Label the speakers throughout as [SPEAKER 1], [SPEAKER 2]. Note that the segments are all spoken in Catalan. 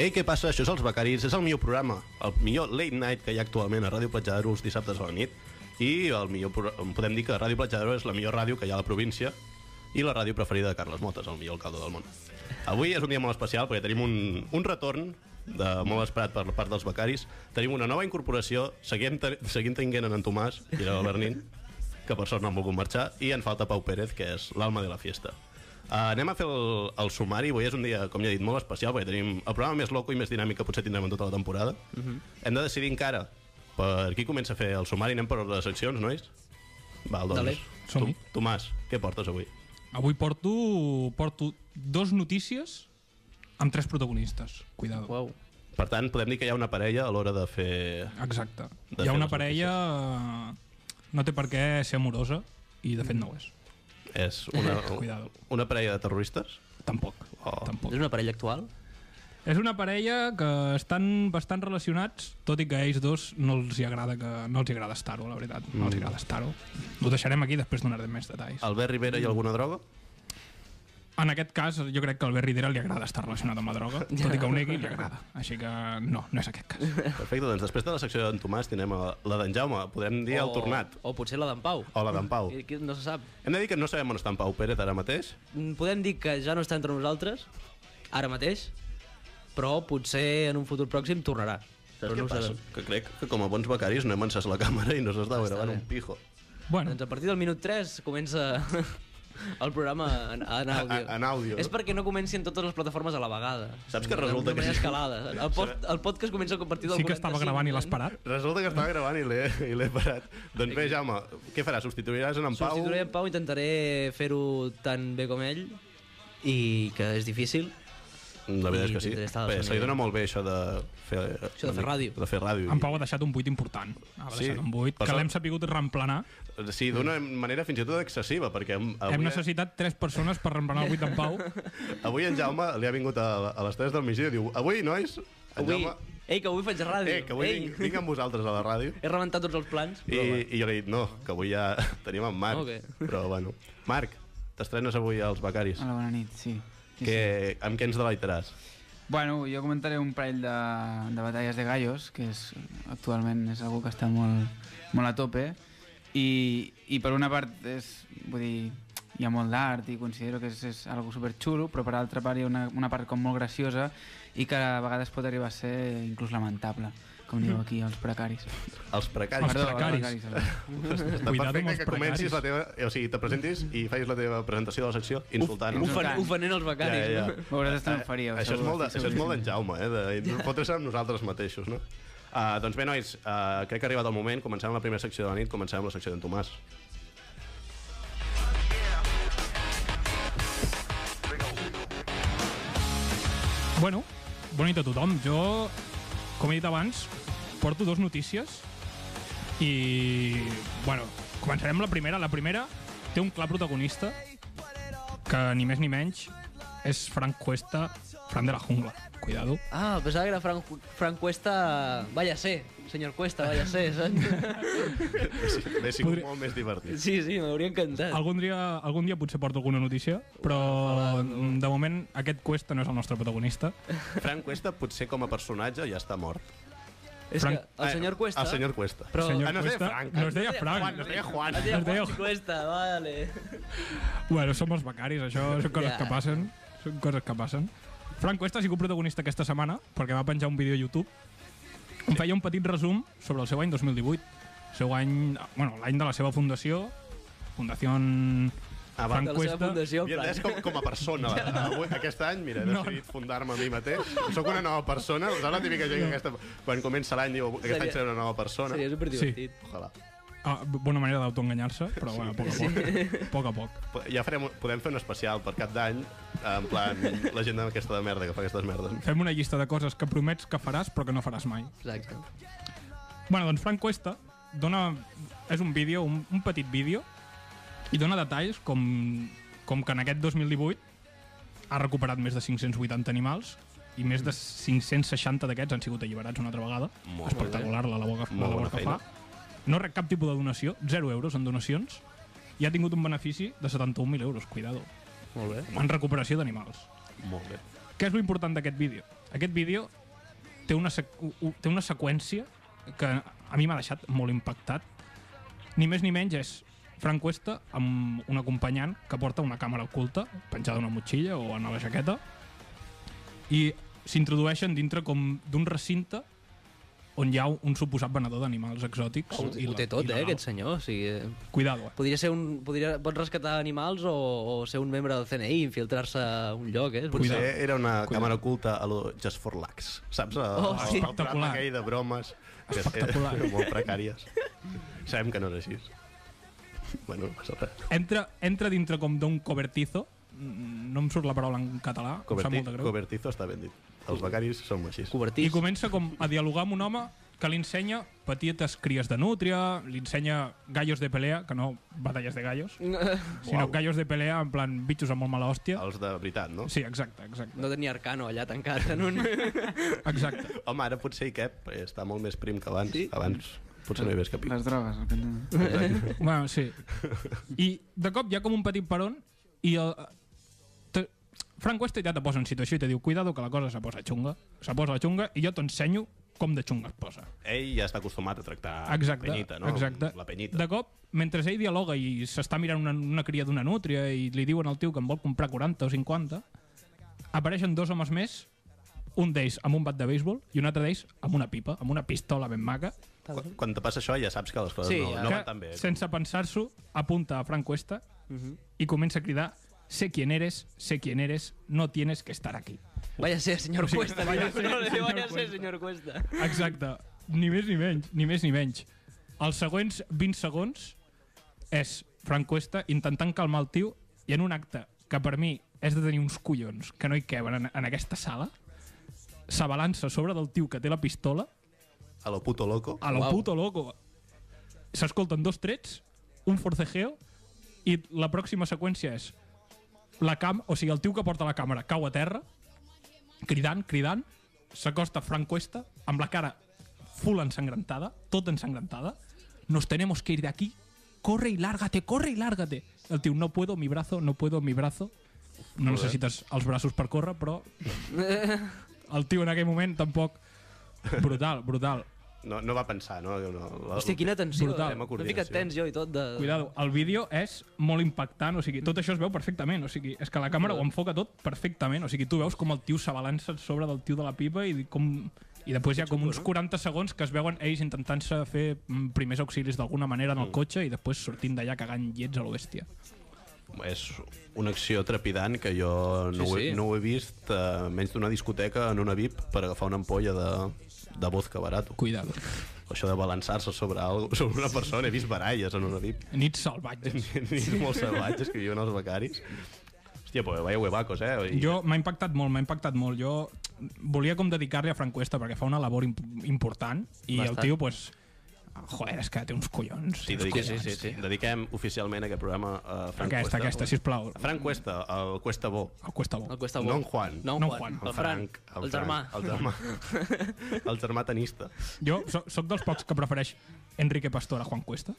[SPEAKER 1] Ei, què passa? Això és Els Becaris, és el millor programa, el millor late night que hi ha actualment a Ràdio Platja d'Aro els dissabtes a la nit. I el millor pro- podem dir que Ràdio Platja d'Aro és la millor ràdio que hi ha a la província i la ràdio preferida de Carles Motes, el millor alcalde del món. Avui és un dia molt especial perquè tenim un, un retorn de, molt esperat per la part dels becaris. Tenim una nova incorporació, seguim, te, seguim tenint en, en Tomàs i la Bernin, que per sort no han volgut marxar, i en falta Pau Pérez, que és l'alma de la fiesta. Uh, anem a fer el, el sumari, avui és un dia, com ja he dit, molt especial, perquè tenim el programa més loco i més dinàmic que potser tindrem en tota la temporada. Uh
[SPEAKER 2] Mhm.
[SPEAKER 1] -huh. Hem de decidir encara per qui comença a fer el sumari, anem per ordre de seccions, nois? Val,
[SPEAKER 3] Dale.
[SPEAKER 1] doncs,
[SPEAKER 2] Som-hi.
[SPEAKER 1] tu, Tomàs, què portes avui?
[SPEAKER 2] Avui porto, porto dos notícies amb tres protagonistes. Cuidado.
[SPEAKER 3] Uau.
[SPEAKER 1] Per tant, podem dir que hi ha una parella a l'hora de fer...
[SPEAKER 2] Exacte.
[SPEAKER 1] De
[SPEAKER 2] Hi
[SPEAKER 1] fer
[SPEAKER 2] ha una
[SPEAKER 1] les
[SPEAKER 2] parella... No té per què ser amorosa, i de fet no ho és.
[SPEAKER 1] És una,
[SPEAKER 2] Cuidado.
[SPEAKER 1] una parella de terroristes?
[SPEAKER 2] Tampoc.
[SPEAKER 1] Oh.
[SPEAKER 2] Tampoc.
[SPEAKER 3] És una parella actual?
[SPEAKER 2] És una parella que estan bastant relacionats, tot i que a ells dos no els hi agrada, que, no els hi agrada estar-ho, la veritat. No
[SPEAKER 1] Mm.
[SPEAKER 2] els hi agrada estar-ho. Ho deixarem aquí, després donaré més detalls.
[SPEAKER 1] Albert Rivera i alguna droga?
[SPEAKER 2] En aquest cas, jo crec que al Albert Ridera li agrada estar relacionat amb la droga, tot i que ho negui, li agrada. Així que no, no és aquest cas.
[SPEAKER 1] Perfecte, doncs després de la secció d'en Tomàs tindrem a- la d'en Jaume, podrem dir
[SPEAKER 2] Oh.
[SPEAKER 1] el tornat.
[SPEAKER 3] O potser la d'en Pau.
[SPEAKER 1] O la d'en Pau.
[SPEAKER 3] I- que No se sap.
[SPEAKER 1] Hem de dir que no sabem on està en Pau Pérez ara mateix.
[SPEAKER 3] Mm, Podem dir que ja no està entre nosaltres, ara mateix, però potser en un futur pròxim tornarà. Però no ho sabem.
[SPEAKER 1] Que crec que com a bons becaris no hem encès la càmera i no s'està gravant
[SPEAKER 3] bé.
[SPEAKER 1] un pijo.
[SPEAKER 2] Bueno,
[SPEAKER 3] Doncs a partir del minut 3 comença el programa en, en àudio.
[SPEAKER 1] en àudio,
[SPEAKER 3] És
[SPEAKER 1] no?
[SPEAKER 3] perquè no comencin totes les plataformes a la vegada.
[SPEAKER 1] Saps que
[SPEAKER 3] D'una
[SPEAKER 1] resulta que
[SPEAKER 3] manera
[SPEAKER 1] sí.
[SPEAKER 3] escalada. El, pod, el podcast comença a partir del
[SPEAKER 2] sí que estava
[SPEAKER 3] 45,
[SPEAKER 2] gravant i l'has
[SPEAKER 3] eh?
[SPEAKER 2] parat.
[SPEAKER 1] Resulta que estava gravant i l'he i l'he parat. Doncs bé, Jaume, què faràs? Substituiràs en, en Pau?
[SPEAKER 3] Substituiré en Pau, intentaré fer-ho tan bé com ell i que és difícil.
[SPEAKER 1] La veritat és que
[SPEAKER 3] I
[SPEAKER 1] sí.
[SPEAKER 3] intentaré estar a la
[SPEAKER 1] Bé,
[SPEAKER 3] seva
[SPEAKER 1] se li dona
[SPEAKER 3] nivell.
[SPEAKER 1] molt bé això de fer... eh,
[SPEAKER 3] Això de fer ràdio.
[SPEAKER 1] De fer ràdio.
[SPEAKER 2] En Pau ha deixat un buit important. Ha
[SPEAKER 1] Sí,
[SPEAKER 2] deixat sí, un buit
[SPEAKER 1] per
[SPEAKER 2] que
[SPEAKER 1] sort.
[SPEAKER 2] l'hem sabut reemplenar.
[SPEAKER 1] Eh, Sí, d'una manera fins i tot excessiva, perquè em- avui, eh?
[SPEAKER 2] Hem necessitat tres persones per reemplenar el buit d'en Pau.
[SPEAKER 1] avui en Jaume li ha vingut a, a les 3 del migdia i diu Avui, nois, en
[SPEAKER 3] Avui,
[SPEAKER 1] Jaume...
[SPEAKER 3] ei, que avui faig ràdio.
[SPEAKER 1] Eh, que avui
[SPEAKER 3] ei,
[SPEAKER 1] vinc, vinc amb vosaltres a la ràdio.
[SPEAKER 3] he rebentat tots els plans.
[SPEAKER 1] I, I jo li he dit, no, que avui ja tenim en Marc.
[SPEAKER 3] No, què?
[SPEAKER 1] Però bueno. Marc, t'estrenes avui als Becaris.
[SPEAKER 4] Hola, bona nit, sí. Ah, sí,
[SPEAKER 1] que, amb què ens deleitaràs?
[SPEAKER 4] sí. Bueno, jo comentaré un parell de, de batalles de gallos, que és, actualment és algú que està molt, molt a tope, i, i per una part és, vull dir, hi ha molt d'art i considero que és, és algo superxulo, però per altra part hi ha una, una part com molt graciosa i que a vegades pot arribar a ser inclús lamentable, com diu aquí els precaris.
[SPEAKER 1] Mm. Els precaris.
[SPEAKER 2] Els
[SPEAKER 4] Perdó,
[SPEAKER 2] precaris.
[SPEAKER 4] els
[SPEAKER 1] Està
[SPEAKER 2] Cuidado amb
[SPEAKER 1] perfecte
[SPEAKER 2] els
[SPEAKER 1] que comencis
[SPEAKER 2] precaris.
[SPEAKER 1] la teva... O sigui, te presentis i facis la teva presentació de la secció insultant.
[SPEAKER 4] Uf,
[SPEAKER 3] Ofen,
[SPEAKER 4] tant.
[SPEAKER 3] ofenent els becaris. no?
[SPEAKER 4] Vosaltres també ho faríeu,
[SPEAKER 1] Eh, Això és
[SPEAKER 4] segur,
[SPEAKER 1] molt, de,
[SPEAKER 4] estic
[SPEAKER 1] això és molt d'en
[SPEAKER 4] seguríssim.
[SPEAKER 1] Jaume, eh? De, fotre's amb nosaltres mateixos, no? Uh, doncs bé, nois, uh, crec que ha arribat el moment. Comencem amb la primera secció de la nit, comencem amb la secció d'en Tomàs.
[SPEAKER 2] Bueno, bona nit a tothom. Jo, com he dit abans, porto dues notícies i, bueno, començarem amb la primera. La primera té un clar protagonista que ni més ni menys és Frank Cuesta, Frank de la jungla. Cuidado.
[SPEAKER 3] Ah, pensava que era Frank, Frank Cuesta... Vaya ser, senyor Cuesta, vaya ser, saps?
[SPEAKER 1] Bé, sigut
[SPEAKER 2] Podri-
[SPEAKER 1] Podria... molt més divertit.
[SPEAKER 3] Sí, sí, m'hauria encantat.
[SPEAKER 2] Algun dia, algun dia potser porto alguna notícia, però mm, de moment aquest Cuesta no és el nostre protagonista.
[SPEAKER 1] Frank Cuesta, potser com a personatge, ja està mort.
[SPEAKER 3] És
[SPEAKER 2] Frank-
[SPEAKER 3] que el senyor
[SPEAKER 1] Ah,
[SPEAKER 3] Cuesta...
[SPEAKER 1] El senyor Cuesta.
[SPEAKER 3] Però-
[SPEAKER 2] Senyor
[SPEAKER 1] Ah, no es deia
[SPEAKER 2] Cuesta-
[SPEAKER 1] Frank.
[SPEAKER 2] No es deia Frank.
[SPEAKER 1] Juan, no es deia Juan.
[SPEAKER 3] Es deia
[SPEAKER 2] Es deia-
[SPEAKER 3] Juan Cuesta, vale.
[SPEAKER 2] Bueno, som els becaris, això són coses
[SPEAKER 3] Ja.
[SPEAKER 2] que passen. Són coses que passen. Frank Cuesta ha sigut protagonista aquesta setmana perquè va penjar un vídeo a YouTube on feia un petit resum sobre el seu any 2018. El seu any... Bueno, l'any de la seva fundació, Fundació
[SPEAKER 1] Ah, va,
[SPEAKER 3] De
[SPEAKER 2] Frank
[SPEAKER 3] la seva
[SPEAKER 2] Cuesta.
[SPEAKER 3] fundació,
[SPEAKER 1] Havia entès
[SPEAKER 3] Frank.
[SPEAKER 1] com, com a persona. la- Avui, aquest any, mira, he
[SPEAKER 2] No,
[SPEAKER 1] decidit fundar-me a mi mateix. Soc una nova persona. Saps la típica gent que aquesta, quan comença l'any diu aquest any
[SPEAKER 3] Seria-
[SPEAKER 1] seré una nova persona?
[SPEAKER 3] Seria superdivertit.
[SPEAKER 1] Ojalà.
[SPEAKER 2] Ah, bona manera d'autoenganyar-se, però bueno, a poc a poc. A poc a poc.
[SPEAKER 1] Po- Ja farem, un- podem fer un especial per cap d'any, en plan, la gent aquesta de merda que fa aquestes merdes.
[SPEAKER 2] Fem una llista de coses que promets que faràs però que no faràs mai.
[SPEAKER 3] Exacte.
[SPEAKER 2] Bueno, doncs Frank Cuesta dona... És un vídeo, un, un petit vídeo, i dona detalls com, com que en aquest 2018 ha recuperat més de 580 animals i més de 560 d'aquests han sigut alliberats una altra vegada.
[SPEAKER 1] Molt
[SPEAKER 2] Espectacular la labor, que-
[SPEAKER 1] Molt
[SPEAKER 2] la labor
[SPEAKER 1] bona
[SPEAKER 2] que
[SPEAKER 1] feina.
[SPEAKER 2] fa. No rep cap tipus de donació, 0 euros en donacions, i ha tingut un benefici de 71.000 euros, cuidado,
[SPEAKER 3] Molt bé.
[SPEAKER 2] en recuperació d'animals.
[SPEAKER 1] Molt bé.
[SPEAKER 2] Què és l'important d'aquest vídeo? Aquest vídeo té una, sec u- u- té una seqüència que a mi m'ha deixat molt impactat. Ni més ni menys és Frank Cuesta amb un acompanyant que porta una càmera oculta penjada a una motxilla o en la jaqueta i s'introdueixen dintre com d'un recinte on hi ha un suposat venedor d'animals exòtics.
[SPEAKER 3] Ho,
[SPEAKER 2] il-
[SPEAKER 3] ho té tot, eh,
[SPEAKER 2] il·legal.
[SPEAKER 3] aquest senyor. O sigui, eh,
[SPEAKER 2] Cuidado, eh?
[SPEAKER 3] podria ser un... Podria, pot rescatar animals o, o ser un membre del CNI i infiltrar-se a un lloc, eh?
[SPEAKER 1] Potser
[SPEAKER 2] Cuidado.
[SPEAKER 1] era una càmera oculta a lo Just for Lax, saps? A,
[SPEAKER 3] Oh, sí.
[SPEAKER 1] el programa
[SPEAKER 2] Espectacular.
[SPEAKER 1] Aquell de bromes. que
[SPEAKER 2] Espectacular.
[SPEAKER 1] Eren molt precàries. Sabem que no és així. Bueno, no passa res.
[SPEAKER 2] Entra, entra dintre com d'un cobertizo. Mm, No em surt la paraula en català,
[SPEAKER 1] Coberti,
[SPEAKER 2] Coberti, em sap molt de greu.
[SPEAKER 1] cobertizo està ben dit. Els becaris som així.
[SPEAKER 3] Cobertís.
[SPEAKER 2] I comença com a dialogar amb un home que li ensenya petites cries de nútria, li ensenya gallos de pelea, que no batalles de gallos, sinó
[SPEAKER 1] Uau.
[SPEAKER 2] gallos de pelea en plan bitxos amb molt mala hòstia.
[SPEAKER 1] Els de veritat, no?
[SPEAKER 2] Sí, exacte, exacte.
[SPEAKER 3] No tenia Arcano allà tancat en un...
[SPEAKER 2] exacte.
[SPEAKER 1] Home, ara potser hi cap, perquè està molt més prim que abans.
[SPEAKER 3] Sí.
[SPEAKER 1] Abans potser no hi veus cap pic.
[SPEAKER 4] Les drogues, el que tenen.
[SPEAKER 2] Bueno, sí. I de cop hi ha com un petit peron i el, te, Frank West ja te posa en situació i te diu cuidado que la cosa se posa xunga, se posa xunga i jo t'ensenyo com de xunga es posa.
[SPEAKER 1] Ell ja està acostumat a tractar
[SPEAKER 2] Exacte,
[SPEAKER 1] penyita, no?
[SPEAKER 2] exacte.
[SPEAKER 1] La penyita.
[SPEAKER 2] De cop, mentre ell dialoga i s'està mirant una, una cria d'una nútria i li diuen al tio que en vol comprar 40 o 50, apareixen dos homes més, un d'ells amb un bat de béisbol i un altre d'ells amb una pipa, amb una pistola ben maca,
[SPEAKER 1] Quan, quan te passa això ja saps que les coses
[SPEAKER 3] Sí,
[SPEAKER 1] no,
[SPEAKER 3] ja.
[SPEAKER 1] no
[SPEAKER 2] que,
[SPEAKER 1] van tan bé. eh,
[SPEAKER 2] sense pensar-s'ho, apunta a Frank Cuesta i comença a cridar sé quién eres, sé quién eres, no tienes que estar aquí.
[SPEAKER 3] Vaya ser, senyor Cuesta.
[SPEAKER 2] vaya
[SPEAKER 3] Vaya ser,
[SPEAKER 2] ser,
[SPEAKER 3] no,
[SPEAKER 2] senyor
[SPEAKER 3] vaya ser,
[SPEAKER 2] Cuesta.
[SPEAKER 3] senyor Cuesta.
[SPEAKER 2] Exacte. Ni més ni menys, ni més ni menys. Els següents 20 segons és Frank Cuesta intentant calmar el tio i en un acte que per mi és de tenir uns collons que no hi queben en, en aquesta sala, s'abalança sobre del tio que té la pistola
[SPEAKER 1] A lo puto loco.
[SPEAKER 2] a lo
[SPEAKER 3] Uau.
[SPEAKER 2] puto loco. S'escolten dos trets, un forcejeo, i la pròxima seqüència és la cam, o sigui, el tio que porta la càmera cau a terra, cridant, cridant, s'acosta Frank Cuesta amb la cara full ensangrentada, tot ensangrentada. Nos tenemos que ir de aquí. Corre y lárgate, corre y lárgate. El tio, no puedo, mi brazo, no puedo, mi brazo. No necessites els braços per córrer, però el tio en aquell moment tampoc... Brutal, brutal.
[SPEAKER 1] No, no va pensar, no? no la,
[SPEAKER 3] Hòstia, quina tensió.
[SPEAKER 2] Brutal.
[SPEAKER 3] eh? M'he ficat tens jo i tot de...
[SPEAKER 2] Cuidado, el vídeo és molt impactant, o sigui, tot això es veu perfectament, o sigui, és que la càmera ho enfoca tot perfectament, o sigui, tu veus com el tio s'abalança sobre del tio de la pipa i com... I després hi ha com uns 40 segons que es veuen ells intentant-se fer mm, primers auxilis d'alguna manera en el cotxe i després sortint d'allà cagant llets a l'oèstia.
[SPEAKER 1] És una acció trepidant que jo no,
[SPEAKER 3] Sí,
[SPEAKER 1] ho, he,
[SPEAKER 3] sí.
[SPEAKER 1] no ho he vist eh, menys d'una discoteca en una VIP per agafar una ampolla de, de vodka barato.
[SPEAKER 2] Cuidado.
[SPEAKER 1] Això de balançar-se sobre, algo, sobre una persona. He vist baralles en una VIP.
[SPEAKER 2] Nits salvatges.
[SPEAKER 1] Nits molt salvatges que viuen els becaris. Hòstia, però vaya huevacos, eh? I
[SPEAKER 2] Jo m'ha impactat molt, m'ha impactat molt. Jo mm, volia com dedicar-li a Frank Cuesta perquè fa una labor imp important i
[SPEAKER 3] Bastant.
[SPEAKER 2] el tio, pues, joder, és que té uns collons.
[SPEAKER 1] Sí,
[SPEAKER 2] té uns
[SPEAKER 1] dediquem,
[SPEAKER 2] collons,
[SPEAKER 1] sí, sí, sí.
[SPEAKER 2] tio.
[SPEAKER 1] dediquem oficialment aquest programa a Frank
[SPEAKER 2] Aquesta,
[SPEAKER 1] Cuesta.
[SPEAKER 2] aquesta, sisplau.
[SPEAKER 1] Frank Cuesta, el Cuesta Bo.
[SPEAKER 2] El Cuesta Bo.
[SPEAKER 3] El Cuesta
[SPEAKER 1] No
[SPEAKER 3] Bo.
[SPEAKER 1] en Juan.
[SPEAKER 3] No en
[SPEAKER 2] No en
[SPEAKER 3] Juan.
[SPEAKER 2] Juan.
[SPEAKER 3] El Frank. El germà.
[SPEAKER 1] El germà. El germà tenista.
[SPEAKER 2] Jo so- sóc dels pocs que prefereix Enrique Pastor a Juan Cuesta.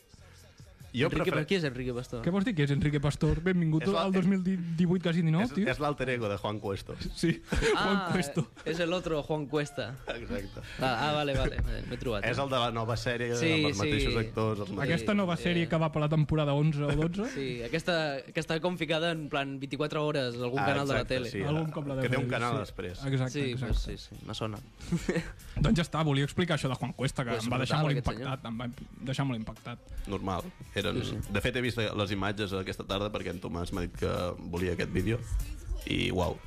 [SPEAKER 1] Jo
[SPEAKER 3] Enrique,
[SPEAKER 1] prefer-
[SPEAKER 3] qui és Enrique Pastor?
[SPEAKER 2] Què vols dir que és Enrique Pastor? Benvingut
[SPEAKER 1] És la-
[SPEAKER 2] al 2018, quasi 19,
[SPEAKER 1] és,
[SPEAKER 2] tio.
[SPEAKER 1] és l'alter ego de Juan Cuesto.
[SPEAKER 2] Sí,
[SPEAKER 3] Ah.
[SPEAKER 2] Juan Cuesta.
[SPEAKER 3] és eh, el otro Juan Cuesta.
[SPEAKER 1] Exacte.
[SPEAKER 3] Ah, ah vale, vale, vale, m'he trobat. eh.
[SPEAKER 1] És el de la nova sèrie,
[SPEAKER 3] Sí,
[SPEAKER 1] sí, amb els
[SPEAKER 3] sí.
[SPEAKER 1] mateixos actors. Els mateixos...
[SPEAKER 2] Aquesta nova
[SPEAKER 3] eh.
[SPEAKER 2] sèrie que va per la temporada 11 o 12,
[SPEAKER 3] Sí, aquesta, aquesta com ficada en plan 24 hores a algun
[SPEAKER 1] Ah,
[SPEAKER 3] canal de la
[SPEAKER 1] exacte,
[SPEAKER 3] tele.
[SPEAKER 1] sí.
[SPEAKER 2] algun cop la
[SPEAKER 1] Que té un
[SPEAKER 2] veure,
[SPEAKER 1] canal
[SPEAKER 2] sí.
[SPEAKER 1] després.
[SPEAKER 2] Exacte,
[SPEAKER 3] sí, pues,
[SPEAKER 2] exacte.
[SPEAKER 3] sí, sí, me sona.
[SPEAKER 2] Doncs ja està, volia explicar això de Juan Cuesta, que
[SPEAKER 3] Pues
[SPEAKER 2] em va deixar
[SPEAKER 3] brutal,
[SPEAKER 2] molt
[SPEAKER 3] aquest
[SPEAKER 2] impactat. Em va imp- deixar molt impactat.
[SPEAKER 1] Normal. Eren... De fet, he vist les imatges aquesta tarda perquè en Tomàs m'ha dit que volia aquest vídeo. I, uau,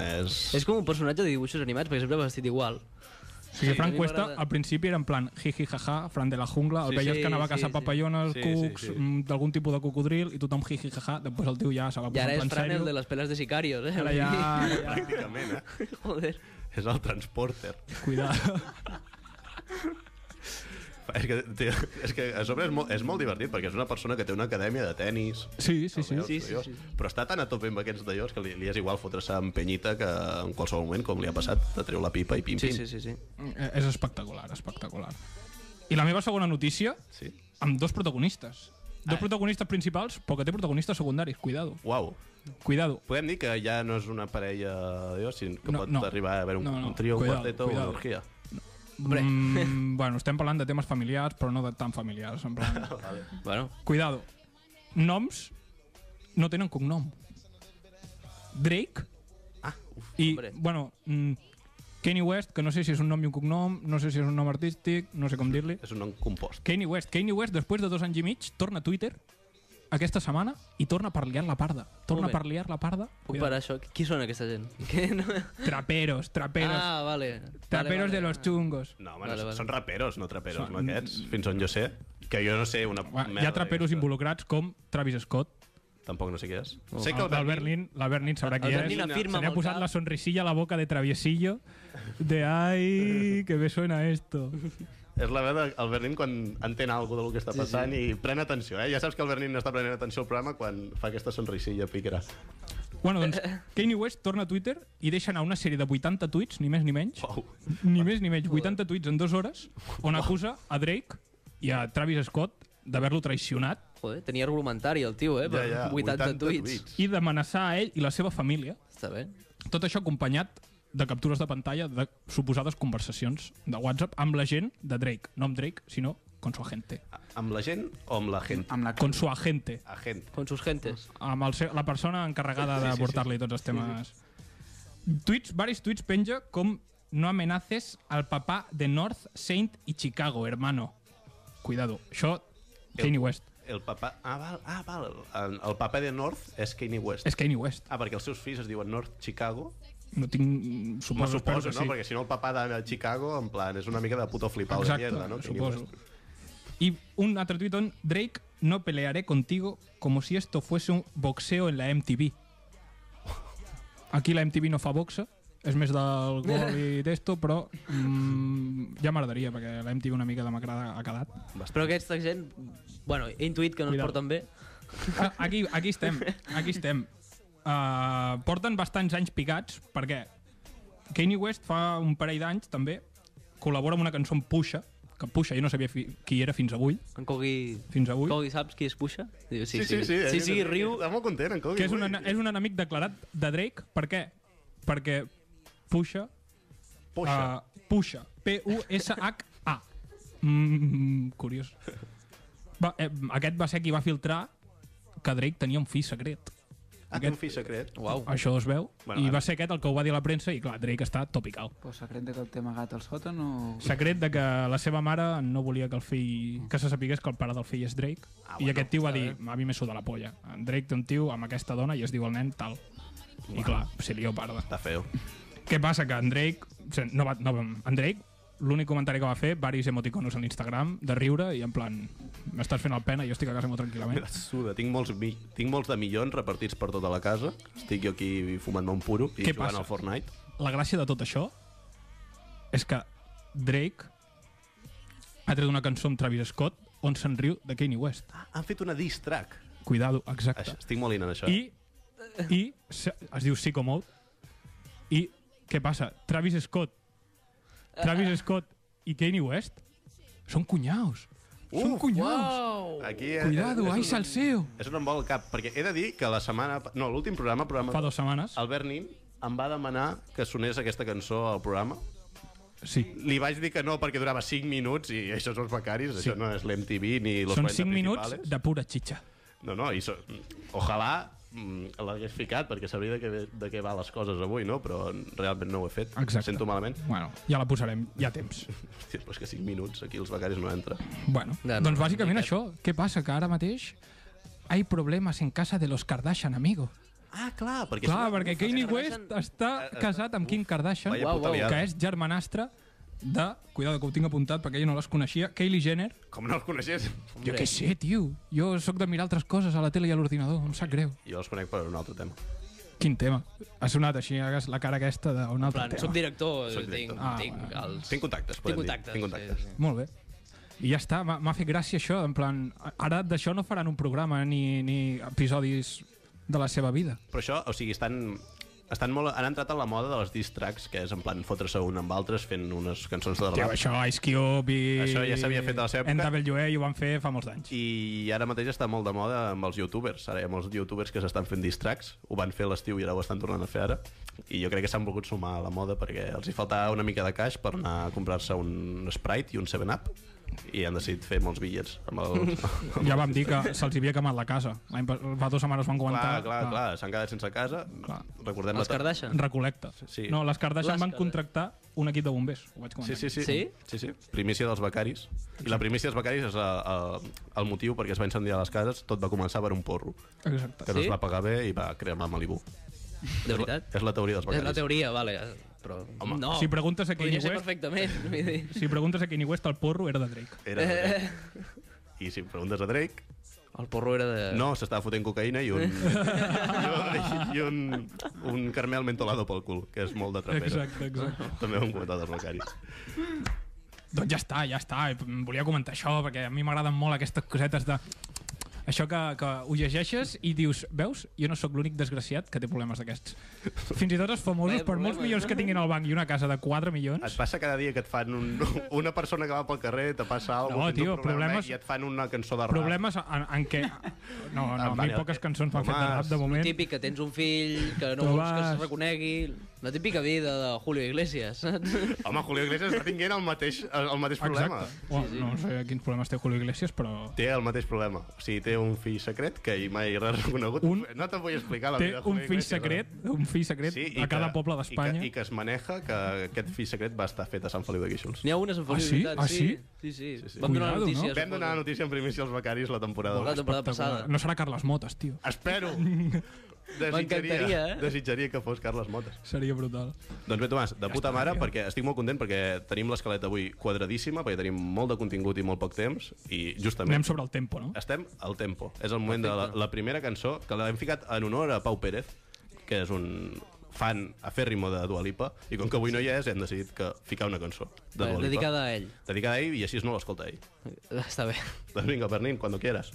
[SPEAKER 1] és...
[SPEAKER 3] És com un personatge de dibuixos animats, perquè sempre va vestit igual.
[SPEAKER 2] O sigui,
[SPEAKER 3] Sí, a mi
[SPEAKER 2] Frank Cuesta,
[SPEAKER 3] m'agrada.
[SPEAKER 2] al principi era en plan jiji jaja, Fran de la jungla,
[SPEAKER 1] Sí,
[SPEAKER 2] el veies
[SPEAKER 3] sí,
[SPEAKER 2] que anava a
[SPEAKER 3] sí,
[SPEAKER 2] caçar
[SPEAKER 3] sí.
[SPEAKER 2] papallones,
[SPEAKER 1] Sí, sí,
[SPEAKER 2] cucs,
[SPEAKER 1] sí.
[SPEAKER 2] mm, d'algun tipus de cocodril, i tothom jiji jaja, després el tio ja se va
[SPEAKER 3] I
[SPEAKER 2] posar
[SPEAKER 3] ara
[SPEAKER 2] en
[SPEAKER 3] és
[SPEAKER 2] plan
[SPEAKER 3] Fran el
[SPEAKER 2] sèrio.
[SPEAKER 3] de les peles de sicarios, eh?
[SPEAKER 2] Ara ja... ja-
[SPEAKER 1] Pràcticament, eh?
[SPEAKER 3] Joder.
[SPEAKER 1] És el transporter.
[SPEAKER 2] Cuidado.
[SPEAKER 1] És que, té, és que a sobre és molt, és molt divertit perquè és una persona que té una acadèmia de tennis
[SPEAKER 2] Sí, sí, sí.
[SPEAKER 3] Sí, sí, sí.
[SPEAKER 1] però està tan a tope amb aquests d'allòs que li, li és igual fotre's amb penyita que en qualsevol moment, com li ha passat, te treu la pipa i pim,
[SPEAKER 3] Sí,
[SPEAKER 1] pim.
[SPEAKER 3] sí, sí, sí.
[SPEAKER 2] Eh, És espectacular, espectacular. I la meva segona notícia,
[SPEAKER 1] sí.
[SPEAKER 2] amb dos protagonistes. Dos protagonistes principals, però que té protagonistes secundaris. Cuidado,
[SPEAKER 1] Uau.
[SPEAKER 2] cuidado.
[SPEAKER 1] Podem dir que ja no és una parella Dios, sinó que
[SPEAKER 2] No,
[SPEAKER 1] pot
[SPEAKER 2] no.
[SPEAKER 1] arribar a haver un,
[SPEAKER 2] No, no.
[SPEAKER 1] un trio, un
[SPEAKER 2] Cuidado,
[SPEAKER 1] quarteto o una
[SPEAKER 2] cuidado.
[SPEAKER 1] orgia.
[SPEAKER 3] Hombre.
[SPEAKER 2] Mm, bueno, estem parlant de temes familiars, però no de tan familiars. En plan.
[SPEAKER 3] Bueno,
[SPEAKER 2] Cuidado. Noms no tenen cognom. Drake
[SPEAKER 1] Ah, uf.
[SPEAKER 2] i,
[SPEAKER 3] Hombre.
[SPEAKER 2] bueno, mm, Kanye West, que no sé si és un nom i un cognom, no sé si és un nom artístic, no sé com dir-li.
[SPEAKER 1] És un nom compost.
[SPEAKER 2] Kanye West. Kanye West, després de dos anys i mig, torna a Twitter aquesta setmana i torna a parliar la parda. Torna
[SPEAKER 3] Molt
[SPEAKER 2] a
[SPEAKER 3] bé.
[SPEAKER 2] parliar la parda.
[SPEAKER 3] puc parar això? Qui són aquesta gent? Que no...
[SPEAKER 2] Traperos, traperos.
[SPEAKER 3] Ah, vale.
[SPEAKER 2] traperos
[SPEAKER 3] vale, vale.
[SPEAKER 2] de los chungos.
[SPEAKER 1] No, home,
[SPEAKER 3] Vale,
[SPEAKER 1] no,
[SPEAKER 3] vale.
[SPEAKER 1] són raperos, no traperos, són... aquests, fins on jo sé. Que jo no sé una
[SPEAKER 2] Bueno,
[SPEAKER 1] merda.
[SPEAKER 2] Hi ha traperos
[SPEAKER 1] d'aquesta.
[SPEAKER 2] involucrats com Travis Scott,
[SPEAKER 1] Tampoc no sé qui és.
[SPEAKER 3] Oh.
[SPEAKER 1] Sé que el
[SPEAKER 2] Albert
[SPEAKER 1] Berlín...
[SPEAKER 2] Berlín, l'Albert Nin sabrà qui
[SPEAKER 3] El
[SPEAKER 2] és.
[SPEAKER 3] Berlín afirma
[SPEAKER 2] Se
[SPEAKER 3] amb
[SPEAKER 2] li ha
[SPEAKER 3] el
[SPEAKER 2] posat
[SPEAKER 3] cap.
[SPEAKER 2] la sonrisilla a la boca de traviesillo de ai, que me suena esto.
[SPEAKER 1] És la veu del Berlín quan entén alguna del que està passant sí, sí. i pren atenció. Eh? Ja saps que el Berlín no està prenent atenció al programa quan fa aquesta sonrisilla pícara.
[SPEAKER 2] Bueno, doncs, Kanye West torna a Twitter i deixa anar una sèrie de 80 tuits, ni més ni
[SPEAKER 3] Oh.
[SPEAKER 2] menys,
[SPEAKER 1] Uau.
[SPEAKER 2] ni més ni menys, 80 tuits en dues hores, on acusa a Drake i a Travis Scott d'haver-lo traicionat
[SPEAKER 3] Joder, tenia argumentari el tio, eh? Per ja, ja, 80, 80 tuits.
[SPEAKER 2] i d'amenaçar a ell i la seva família.
[SPEAKER 3] Està bé.
[SPEAKER 2] Tot això acompanyat de captures de pantalla de suposades conversacions de WhatsApp amb la gent de Drake. No amb Drake, sinó con su agente.
[SPEAKER 1] Amb la gent o amb la gent?
[SPEAKER 4] Amb la...
[SPEAKER 2] Con su agente.
[SPEAKER 1] A gent.
[SPEAKER 3] Con sus gentes.
[SPEAKER 2] amb el seu, la persona encarregada de portar-li tots els temes. Tuits, varis tuits penja com no amenaces al papà de North, Saint i Chicago, hermano. Cuidado. Això, Kanye West.
[SPEAKER 1] El papa... Ah, val, ah, val. El, el papa de North és Kanye West.
[SPEAKER 2] És Kanye West.
[SPEAKER 1] Ah, perquè els seus fills es diuen North Chicago.
[SPEAKER 2] No tinc...
[SPEAKER 1] Me suposo,
[SPEAKER 2] Suposo, espero que
[SPEAKER 1] no?
[SPEAKER 2] sí.
[SPEAKER 1] Perquè si no el papà de Chicago, en plan, és una mica de puto flipado
[SPEAKER 2] Exacte,
[SPEAKER 1] de mierda, no? Kanye
[SPEAKER 2] suposo.
[SPEAKER 1] West.
[SPEAKER 2] Y un otro tuit on Drake, no pelearé contigo como si esto fuese un boxeo en la MTV. Aquí la MTV no fa boxa, és més del gol i d'esto, però mm, ja m'agradaria, perquè la MTV una mica demacrada ha quedat.
[SPEAKER 3] Però aquesta gent, bueno, he intuït que no es
[SPEAKER 2] Cuidado.
[SPEAKER 3] porten bé.
[SPEAKER 2] Ah, Aquí, aquí estem, aquí estem. Uh, porten bastants anys picats, perquè Kanye West fa un parell d'anys, també, col·labora amb una cançó amb Pusha, que Pusha jo no sabia fi, qui era fins avui,
[SPEAKER 3] En Cogui...
[SPEAKER 2] fins avui.
[SPEAKER 3] Cogui, saps qui es puixa? Diu, sí,
[SPEAKER 1] Sí, sí, sí. eh?
[SPEAKER 3] Sí, sí, riu.
[SPEAKER 1] Està molt content, en Cody.
[SPEAKER 2] que és un, és un enemic declarat de Drake. Per què? Perquè Pusha...
[SPEAKER 1] Poixa.
[SPEAKER 2] Uh, Pusha. P-U-S-H-A. Mm, curiós. Va, eh, aquest va ser qui va filtrar que Drake tenia un fill secret.
[SPEAKER 1] ah, té un fill secret.
[SPEAKER 3] Uau.
[SPEAKER 2] Això es veu.
[SPEAKER 1] Bueno,
[SPEAKER 2] I
[SPEAKER 1] ara-
[SPEAKER 2] va ser aquest el que ho va dir a la premsa i, clar, Drake està topical.
[SPEAKER 4] Pues secret de que el té amagat al sòtan o...
[SPEAKER 2] Secret de que la seva mare no volia que el fill... que se sapigués que el pare del fill és Drake.
[SPEAKER 1] Ah,
[SPEAKER 2] Ah,
[SPEAKER 1] bueno,
[SPEAKER 2] I aquest tio va dir, a mi me suda la polla. En Drake té un tio amb aquesta dona i es diu el nen tal. I clar, se lió parda.
[SPEAKER 1] Està feo.
[SPEAKER 2] Què passa? Que en Drake... se- No va, no, va- en Drake l'únic comentari que va fer, varis emoticonos a l'Instagram, de riure, i en plan, m'estàs fent el pena, jo estic a casa molt tranquil·lament.
[SPEAKER 1] Suda, tinc molts, mi... tinc molts de millons repartits per tota la casa. Estic jo aquí fumant-me un puro i
[SPEAKER 2] Què
[SPEAKER 1] jugant
[SPEAKER 2] passa?
[SPEAKER 1] al Fortnite.
[SPEAKER 2] La gràcia de tot això és que Drake ha tret una cançó amb Travis Scott on se'n riu de Kanye West.
[SPEAKER 1] Ah, han fet una diss track.
[SPEAKER 2] Cuidado,
[SPEAKER 1] Això,
[SPEAKER 2] exacte.
[SPEAKER 1] estic molt in en això. eh.
[SPEAKER 2] I, i se- es diu Psycho Mode. I què passa? Travis Scott, Travis Scott i Kanye West són cunyaus. Són
[SPEAKER 1] Uf,
[SPEAKER 2] cunyaus.
[SPEAKER 1] Aquí, eh,
[SPEAKER 2] Cuidado,
[SPEAKER 1] és
[SPEAKER 2] ai,
[SPEAKER 1] un-
[SPEAKER 2] salseo.
[SPEAKER 1] Això no em vol al cap, perquè he de dir que la setmana... No, l'últim programa, programa...
[SPEAKER 2] Fa dues setmanes.
[SPEAKER 1] Albert Nin em va demanar que sonés aquesta cançó al programa.
[SPEAKER 2] Sí.
[SPEAKER 1] Li vaig dir que no perquè durava 5 minuts i això són els becaris, sí. això no és l'MTV ni los
[SPEAKER 2] Són
[SPEAKER 1] 40
[SPEAKER 2] 5 minuts
[SPEAKER 1] principales.
[SPEAKER 2] de pura xitxa.
[SPEAKER 1] No, no, i so... ojalà mm, l'hagués ficat perquè sabria de què, de què va les coses avui, no? Però realment no ho he fet.
[SPEAKER 2] Exacte.
[SPEAKER 1] Sento malament.
[SPEAKER 2] Bueno, ja la posarem, ja temps.
[SPEAKER 1] Hòstia, però és que 5 minuts aquí els becaris no entra.
[SPEAKER 2] Bueno,
[SPEAKER 3] Ja, no,
[SPEAKER 2] doncs
[SPEAKER 3] no,
[SPEAKER 2] bàsicament
[SPEAKER 3] ni
[SPEAKER 2] això. Què passa? Que ara mateix hay problemes en casa de los Kardashian, amigo.
[SPEAKER 1] Ah, clar, perquè...
[SPEAKER 2] Clar,
[SPEAKER 1] és una-
[SPEAKER 2] perquè
[SPEAKER 1] Uf,
[SPEAKER 2] Kanye
[SPEAKER 1] és una-
[SPEAKER 2] West està casat amb Kim Kardashian,
[SPEAKER 1] eh, Vaya puta
[SPEAKER 3] Uau, uau.
[SPEAKER 1] liada.
[SPEAKER 2] que és germanastre de... Cuidado, que ho tinc apuntat perquè jo no les coneixia. Kylie Jenner.
[SPEAKER 1] Com no els coneixés?
[SPEAKER 2] Jo què sé, tio. Jo sóc de mirar altres coses a la tele i a l'ordinador. Em sap greu.
[SPEAKER 1] Jo els conec per un altre tema.
[SPEAKER 2] Quin tema. Ha sonat així hagues la cara aquesta d'un altre
[SPEAKER 3] plan,
[SPEAKER 2] tema.
[SPEAKER 3] soc director,
[SPEAKER 1] Soc director.
[SPEAKER 3] tinc,
[SPEAKER 2] Ah,
[SPEAKER 3] tinc
[SPEAKER 2] bueno.
[SPEAKER 3] els...
[SPEAKER 1] Tinc contactes,
[SPEAKER 3] tinc
[SPEAKER 1] podem
[SPEAKER 3] contactes.
[SPEAKER 1] dir. Tinc contactes.
[SPEAKER 3] Sí, sí.
[SPEAKER 2] Molt bé. I ja està, m'ha m'ha fet gràcia això, en plan, ara d'això no faran un programa ni, ni episodis de la seva vida.
[SPEAKER 1] Però això, o sigui, estan estan molt, han entrat en la moda de les diss tracks, que és en plan fotre-se un amb altres fent unes cançons de
[SPEAKER 2] Tio,
[SPEAKER 1] rap.
[SPEAKER 2] això Ice Cube i...
[SPEAKER 1] Això ja s'havia fet a la seva època.
[SPEAKER 2] NWA i ho van fer fa molts anys.
[SPEAKER 1] I ara mateix està molt de moda amb els youtubers. Ara hi ha molts youtubers que s'estan fent diss tracks. Ho van fer a l'estiu i ara ho estan tornant a fer ara. I jo crec que s'han volgut sumar a la moda perquè els hi faltava una mica de cash per anar a comprar-se un Sprite i un 7-Up i han decidit fer molts bitllets amb el...
[SPEAKER 2] Ja vam dir que se'ls havia quemat la casa. L'any pas- Fa dues setmanes van
[SPEAKER 1] clar,
[SPEAKER 2] comentar...
[SPEAKER 1] clar, clar, s'han quedat sense casa.
[SPEAKER 2] Clar.
[SPEAKER 1] Recordem
[SPEAKER 3] Els Kardashian?
[SPEAKER 2] Recolecta.
[SPEAKER 1] Sí.
[SPEAKER 2] No, les Kardashian
[SPEAKER 3] Les
[SPEAKER 2] van
[SPEAKER 3] Kardashian.
[SPEAKER 2] contractar un equip de bombers. Ho vaig
[SPEAKER 1] Sí,
[SPEAKER 2] comentar.
[SPEAKER 1] sí, sí.
[SPEAKER 3] Sí?
[SPEAKER 1] sí, sí. Primícia dels becaris. I la primícia dels becaris és el, el, el motiu perquè es va incendiar les cases. Tot va començar per un porro, que
[SPEAKER 2] Exacte.
[SPEAKER 1] no
[SPEAKER 3] Sí?
[SPEAKER 1] es va pagar bé i va cremar Malibu.
[SPEAKER 3] De veritat?
[SPEAKER 1] És la teoria dels
[SPEAKER 3] És
[SPEAKER 1] becaris.
[SPEAKER 3] la teoria, vale. Però
[SPEAKER 1] Home,
[SPEAKER 3] no,
[SPEAKER 2] si preguntes a
[SPEAKER 3] Oh. podria
[SPEAKER 2] Kanye
[SPEAKER 3] ser
[SPEAKER 2] West-
[SPEAKER 3] perfectament. vull dir.
[SPEAKER 2] Si preguntes a Kanye West, el porro era de Drake.
[SPEAKER 1] Era de Drake. I si em preguntes a Drake,
[SPEAKER 3] El porro era de...
[SPEAKER 1] no, s'estava fotent cocaïna i un... i un, un caramel mentolado pel cul, que és molt de trapero.
[SPEAKER 2] Exacte, exacte.
[SPEAKER 1] També ho hem comentat els becaris.
[SPEAKER 2] Doncs ja està, ja està. Volia comentar això, perquè a mi m'agraden molt aquestes cosetes de... Això que, que ho llegeixes i dius, veus, jo no sóc l'únic desgraciat que té problemes d'aquests. Fins i tot els famosos,
[SPEAKER 3] Vaya
[SPEAKER 2] per
[SPEAKER 3] problemes,
[SPEAKER 2] molts
[SPEAKER 3] eh?
[SPEAKER 2] milions que tinguin al banc i una casa de 4
[SPEAKER 1] Et
[SPEAKER 2] milions,
[SPEAKER 1] passa cada dia que et fan un, una persona que va pel carrer, te passa alguna
[SPEAKER 2] No,
[SPEAKER 1] cosa,
[SPEAKER 2] tio, problemes-
[SPEAKER 1] i et fan una cançó de rap.
[SPEAKER 2] problemes en, en què... No, no, a mi
[SPEAKER 1] vale.
[SPEAKER 2] poques cançons m'han fet de
[SPEAKER 1] Tomàs.
[SPEAKER 2] rap, de moment.
[SPEAKER 3] Típic que tens un fill, que no
[SPEAKER 2] Tu
[SPEAKER 3] vols que
[SPEAKER 2] vas-
[SPEAKER 3] es reconegui... La típica vida de Julio Iglesias, saps?
[SPEAKER 1] Home, Julio Iglesias està tinguent el mateix, el mateix problema.
[SPEAKER 2] Exacte. Bueno, No sé quins problemes té Julio Iglesias, però...
[SPEAKER 1] Té el mateix problema. O sigui, té un fill secret que i mai l'ha reconegut.
[SPEAKER 2] Un-
[SPEAKER 1] No te vull explicar la
[SPEAKER 2] Té
[SPEAKER 1] vida de
[SPEAKER 2] un
[SPEAKER 1] Julio
[SPEAKER 2] fill
[SPEAKER 1] Iglesias, eh?
[SPEAKER 2] secret, un fill secret
[SPEAKER 1] Sí, i
[SPEAKER 2] a cada
[SPEAKER 1] que-
[SPEAKER 2] poble
[SPEAKER 1] I
[SPEAKER 2] d'Espanya.
[SPEAKER 1] que, I que es maneja que aquest fill secret va estar fet a Sant Feliu de Guíxols.
[SPEAKER 3] N'hi ha unes en Feliu,
[SPEAKER 2] Ah, sí?
[SPEAKER 3] veritat,
[SPEAKER 2] Ah,
[SPEAKER 3] Sí, sí. sí,
[SPEAKER 1] sí.
[SPEAKER 3] sí. Vam donar
[SPEAKER 2] Cuidado,
[SPEAKER 3] la
[SPEAKER 2] no?
[SPEAKER 3] notícia.
[SPEAKER 1] Vam donar la
[SPEAKER 3] suposo.
[SPEAKER 1] notícia en primícia als becaris la temporada
[SPEAKER 3] La
[SPEAKER 1] 2.
[SPEAKER 3] temporada passada.
[SPEAKER 2] Espectacular. No serà Carles Motes, tio.
[SPEAKER 1] Espero!
[SPEAKER 3] M'encantaria,
[SPEAKER 1] Desitjaria,
[SPEAKER 3] eh?
[SPEAKER 1] desitjaria que fos Carles Motes.
[SPEAKER 2] Seria brutal.
[SPEAKER 1] Doncs bé, Tomàs, de puta mare, perquè estic molt content perquè tenim l'escaleta avui quadradíssima, perquè tenim molt de contingut i molt poc temps, i justament...
[SPEAKER 2] Anem sobre el tempo, no?
[SPEAKER 1] Estem al tempo. És el moment de la, la primera cançó que l'hem ficat en honor a Pau Pérez, que és un fan afèrrimo de Dua Lipa, i com que avui no hi és, hem decidit que ficar una cançó de Dua Lipa.
[SPEAKER 3] Dedicada a ell.
[SPEAKER 1] Dedicada a ell i així no l'escolta ell.
[SPEAKER 3] Està bé.
[SPEAKER 1] Doncs vinga, Bernin, quan quieras.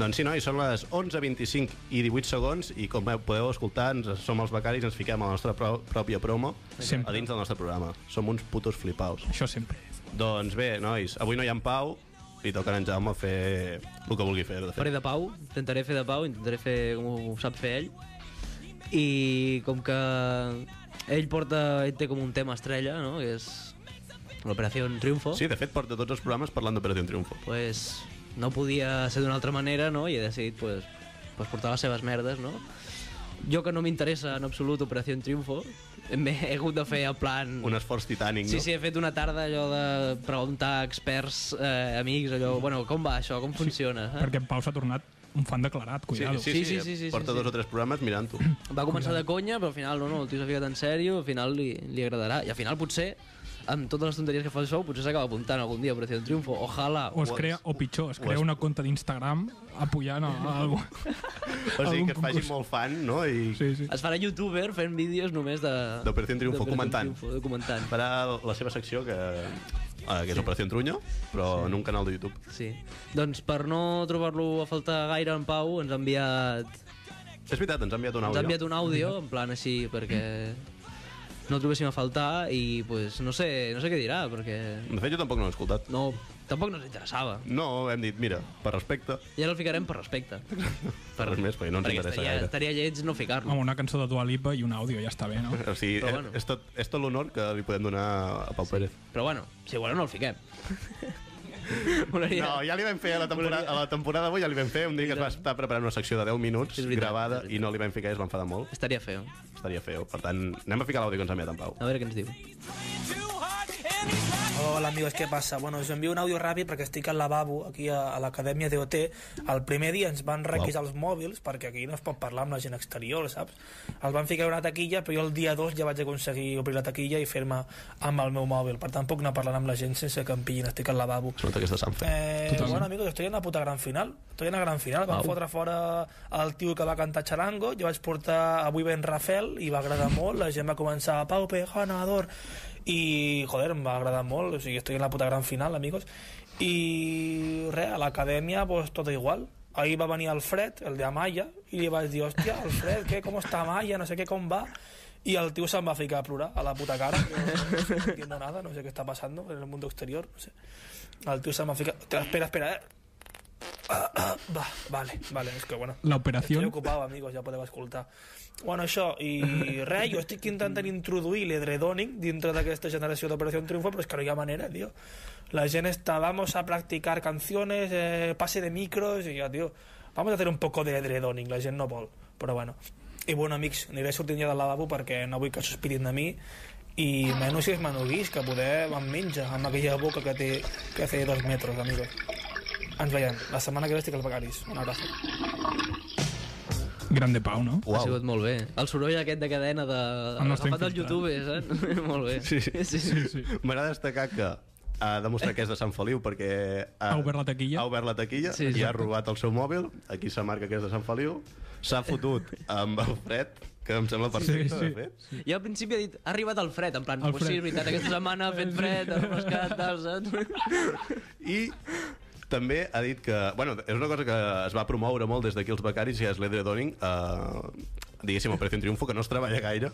[SPEAKER 1] Doncs sí, nois, són les 11.25 i 18 segons i com podeu escoltar, ens, som els becaris, ens fiquem a la nostra pro pròpia promo
[SPEAKER 2] Sempre.
[SPEAKER 1] a dins del nostre programa. Som uns putos flipaus.
[SPEAKER 2] Això sempre.
[SPEAKER 1] Doncs bé, nois, avui no hi ha en Pau, li toca a en Jaume fer el que vulgui fer, de fet.
[SPEAKER 3] Faré de pau, intentaré fer de pau, intentaré fer com ho sap fer ell. I com que ell porta, ell té com un tema estrella, no? Que és l'Operació Triunfo.
[SPEAKER 1] Sí, de fet, porta tots els programes parlant d'Operació Triunfo.
[SPEAKER 3] pues, no podia ser d'una altra manera, no? I he decidit, pues, pues portar les seves merdes, no? Jo que no m'interessa en absolut Operació Triunfo, m'he hagut de fer en plan...
[SPEAKER 1] Un esforç titànic,
[SPEAKER 3] Sí,
[SPEAKER 1] no?
[SPEAKER 3] sí, he fet una tarda allò de preguntar a experts, eh, amics, allò,
[SPEAKER 1] Mm.
[SPEAKER 3] bueno, com va això, com funciona? Eh?
[SPEAKER 2] Perquè en Pau s'ha tornat un fan declarat, cuidado.
[SPEAKER 1] sí, sí, sí, sí, sí,
[SPEAKER 3] sí,
[SPEAKER 1] Porta
[SPEAKER 3] sí,
[SPEAKER 1] dos
[SPEAKER 3] sí.
[SPEAKER 1] o tres programes mirant-ho.
[SPEAKER 3] Va començar de conya, però al final no, no, el tio s'ha ficat en sèrio, al final li, li agradarà. I al final potser, amb totes les tonteries que fa el show, potser s'acaba apuntant algun dia a Operació Triunfo. Ojalà.
[SPEAKER 2] O es crea, o pitjor, es crea una conta d'Instagram apoyant a algú.
[SPEAKER 1] O sigui, que et faci molt fan, no? I sí.
[SPEAKER 2] Sí, sí.
[SPEAKER 3] Es farà youtuber fent vídeos només de...
[SPEAKER 1] D'Operació Triunfo,
[SPEAKER 3] d'Operació
[SPEAKER 1] comentant.
[SPEAKER 3] Triunfo, de comentant.
[SPEAKER 1] farà la seva secció, que, ah, que és Operació Truño, però en un canal de YouTube.
[SPEAKER 3] Sí. Doncs per no trobar-lo a faltar gaire en Pau, ens ha enviat,
[SPEAKER 1] És veritat, ens ha enviat un
[SPEAKER 3] ens ha
[SPEAKER 1] àudio.
[SPEAKER 3] enviat un àudio, en plan així, perquè no el trobéssim a faltar i pues, no, sé, no sé què dirà, perquè
[SPEAKER 1] De fet, jo tampoc no l'he escoltat.
[SPEAKER 3] no, tampoc no ens interessava.
[SPEAKER 1] No, hem dit, mira, per respecte,
[SPEAKER 3] I ara el ficarem per respecte.
[SPEAKER 1] per res més, perquè no ens
[SPEAKER 3] perquè
[SPEAKER 1] interessa
[SPEAKER 3] estaria,
[SPEAKER 1] gaire.
[SPEAKER 3] estaria lleig no ficar-lo.
[SPEAKER 2] Amb una cançó de Dua Lipa i un àudio, ja està bé, no?
[SPEAKER 1] O sigui, eh,
[SPEAKER 3] Però bueno.
[SPEAKER 1] és, tot, és tot l'honor que li podem donar a Pau Pérez.
[SPEAKER 3] Però bueno, si voleu no el fiquem. Molaria.
[SPEAKER 1] No, ja li vam fer a la temporada, a la temporada d'avui, ja li vam fer un dia que es va estar preparant una secció de 10 minuts
[SPEAKER 3] És veritat,
[SPEAKER 1] gravada
[SPEAKER 3] és
[SPEAKER 1] i
[SPEAKER 3] veritat.
[SPEAKER 1] no li vam ficar i es va enfadar molt.
[SPEAKER 3] Estaria feo.
[SPEAKER 1] Estaria feo. Per tant, anem a ficar l'àudio que ens ha enviat en Pau.
[SPEAKER 3] A veure què ens diu.
[SPEAKER 5] Hola amigos, ¿qué pasa? Bueno, us envio un àudio ràpid perquè estic al lavabo aquí a, a l'acadèmia d'OT. El primer dia ens van requisar els mòbils perquè aquí no es pot parlar amb la gent exterior, saps? Els van ficar una taquilla, però jo el dia 2 ja vaig aconseguir obrir la taquilla i fer-me amb el meu mòbil. Per tant, puc anar parlant amb la gent sense que em pillin, estic al lavabo.
[SPEAKER 1] Es nota que és de Sant Fe.
[SPEAKER 5] Eh, bueno, amigos, estoy en la puta gran final. Estoy en la gran final. Van fotre fora el tio que va cantar xarango. Jo vaig portar avui ben Rafel i va agradar molt. La gent va començar Pau Pejana, Ador. I, joder, em va agradar molt. O sigui, estoy en la puta gran final, amigos. I, res, a l'acadèmia, pues, tot igual. Ahir va venir el Fred, el de Amaya, i li vaig dir, hòstia, el Fred, què, com està Amaya, no sé què, com va... I el tio se'n va ficar a plorar a la puta cara. No, no entiendo nada, no sé qué está pasando en el mundo exterior, no sé. El tío se me fica... Te- Espera, espera, eh. Va, vale, vale, és que bueno.
[SPEAKER 2] La operació...
[SPEAKER 5] Estic ocupat, amigos, ja podeu escoltar. Bueno, això, i res, jo estic intentant introduir l'edredoning dintre d'aquesta generació d'Operació Triunfo, però és que no hi ha manera, tio. La gent està, vamos a practicar canciones, eh, pase de micros, i jo, tio, vamos a hacer un poco de edredoning, la gent no vol, però bueno. I bueno, amics, aniré sortint ja del lavabo perquè no vull que sospitin de mi, i menys si és menuguís, que poder em menja amb aquella boca que té, que té dos metres, amigos. Ens veiem. La setmana que ve estic al Becaris. Un abrazo.
[SPEAKER 2] Grande Pau, no?
[SPEAKER 3] Ha sigut molt bé. El soroll aquest de cadena de...
[SPEAKER 2] El nostre
[SPEAKER 3] Agafat del
[SPEAKER 2] infiltrat.
[SPEAKER 3] YouTube, eh, saps? molt bé. Sí, sí. sí, sí.
[SPEAKER 1] M'agrada destacar que ha demostrat que és de Sant Feliu perquè ha,
[SPEAKER 2] Ha obert la taquilla.
[SPEAKER 1] ha obert la taquilla
[SPEAKER 3] Sí,
[SPEAKER 1] sí, i ha
[SPEAKER 3] exacte.
[SPEAKER 1] robat el seu mòbil, aquí se marca que és de Sant Feliu, s'ha fotut amb el fred, que em sembla perfecte,
[SPEAKER 2] sí.
[SPEAKER 1] de fet.
[SPEAKER 3] I al principi ha dit, ha arribat el fred, en plan,
[SPEAKER 2] El
[SPEAKER 3] pues sí,
[SPEAKER 2] fred.
[SPEAKER 3] és veritat, aquesta setmana ha fet fred, ha refrescat, tal, saps?
[SPEAKER 1] I també ha dit que... Bueno, és una cosa que es va promoure molt des d'aquí els becaris i és l'Edredoning, eh, diguéssim, Operació en Triunfo, que no es treballa gaire,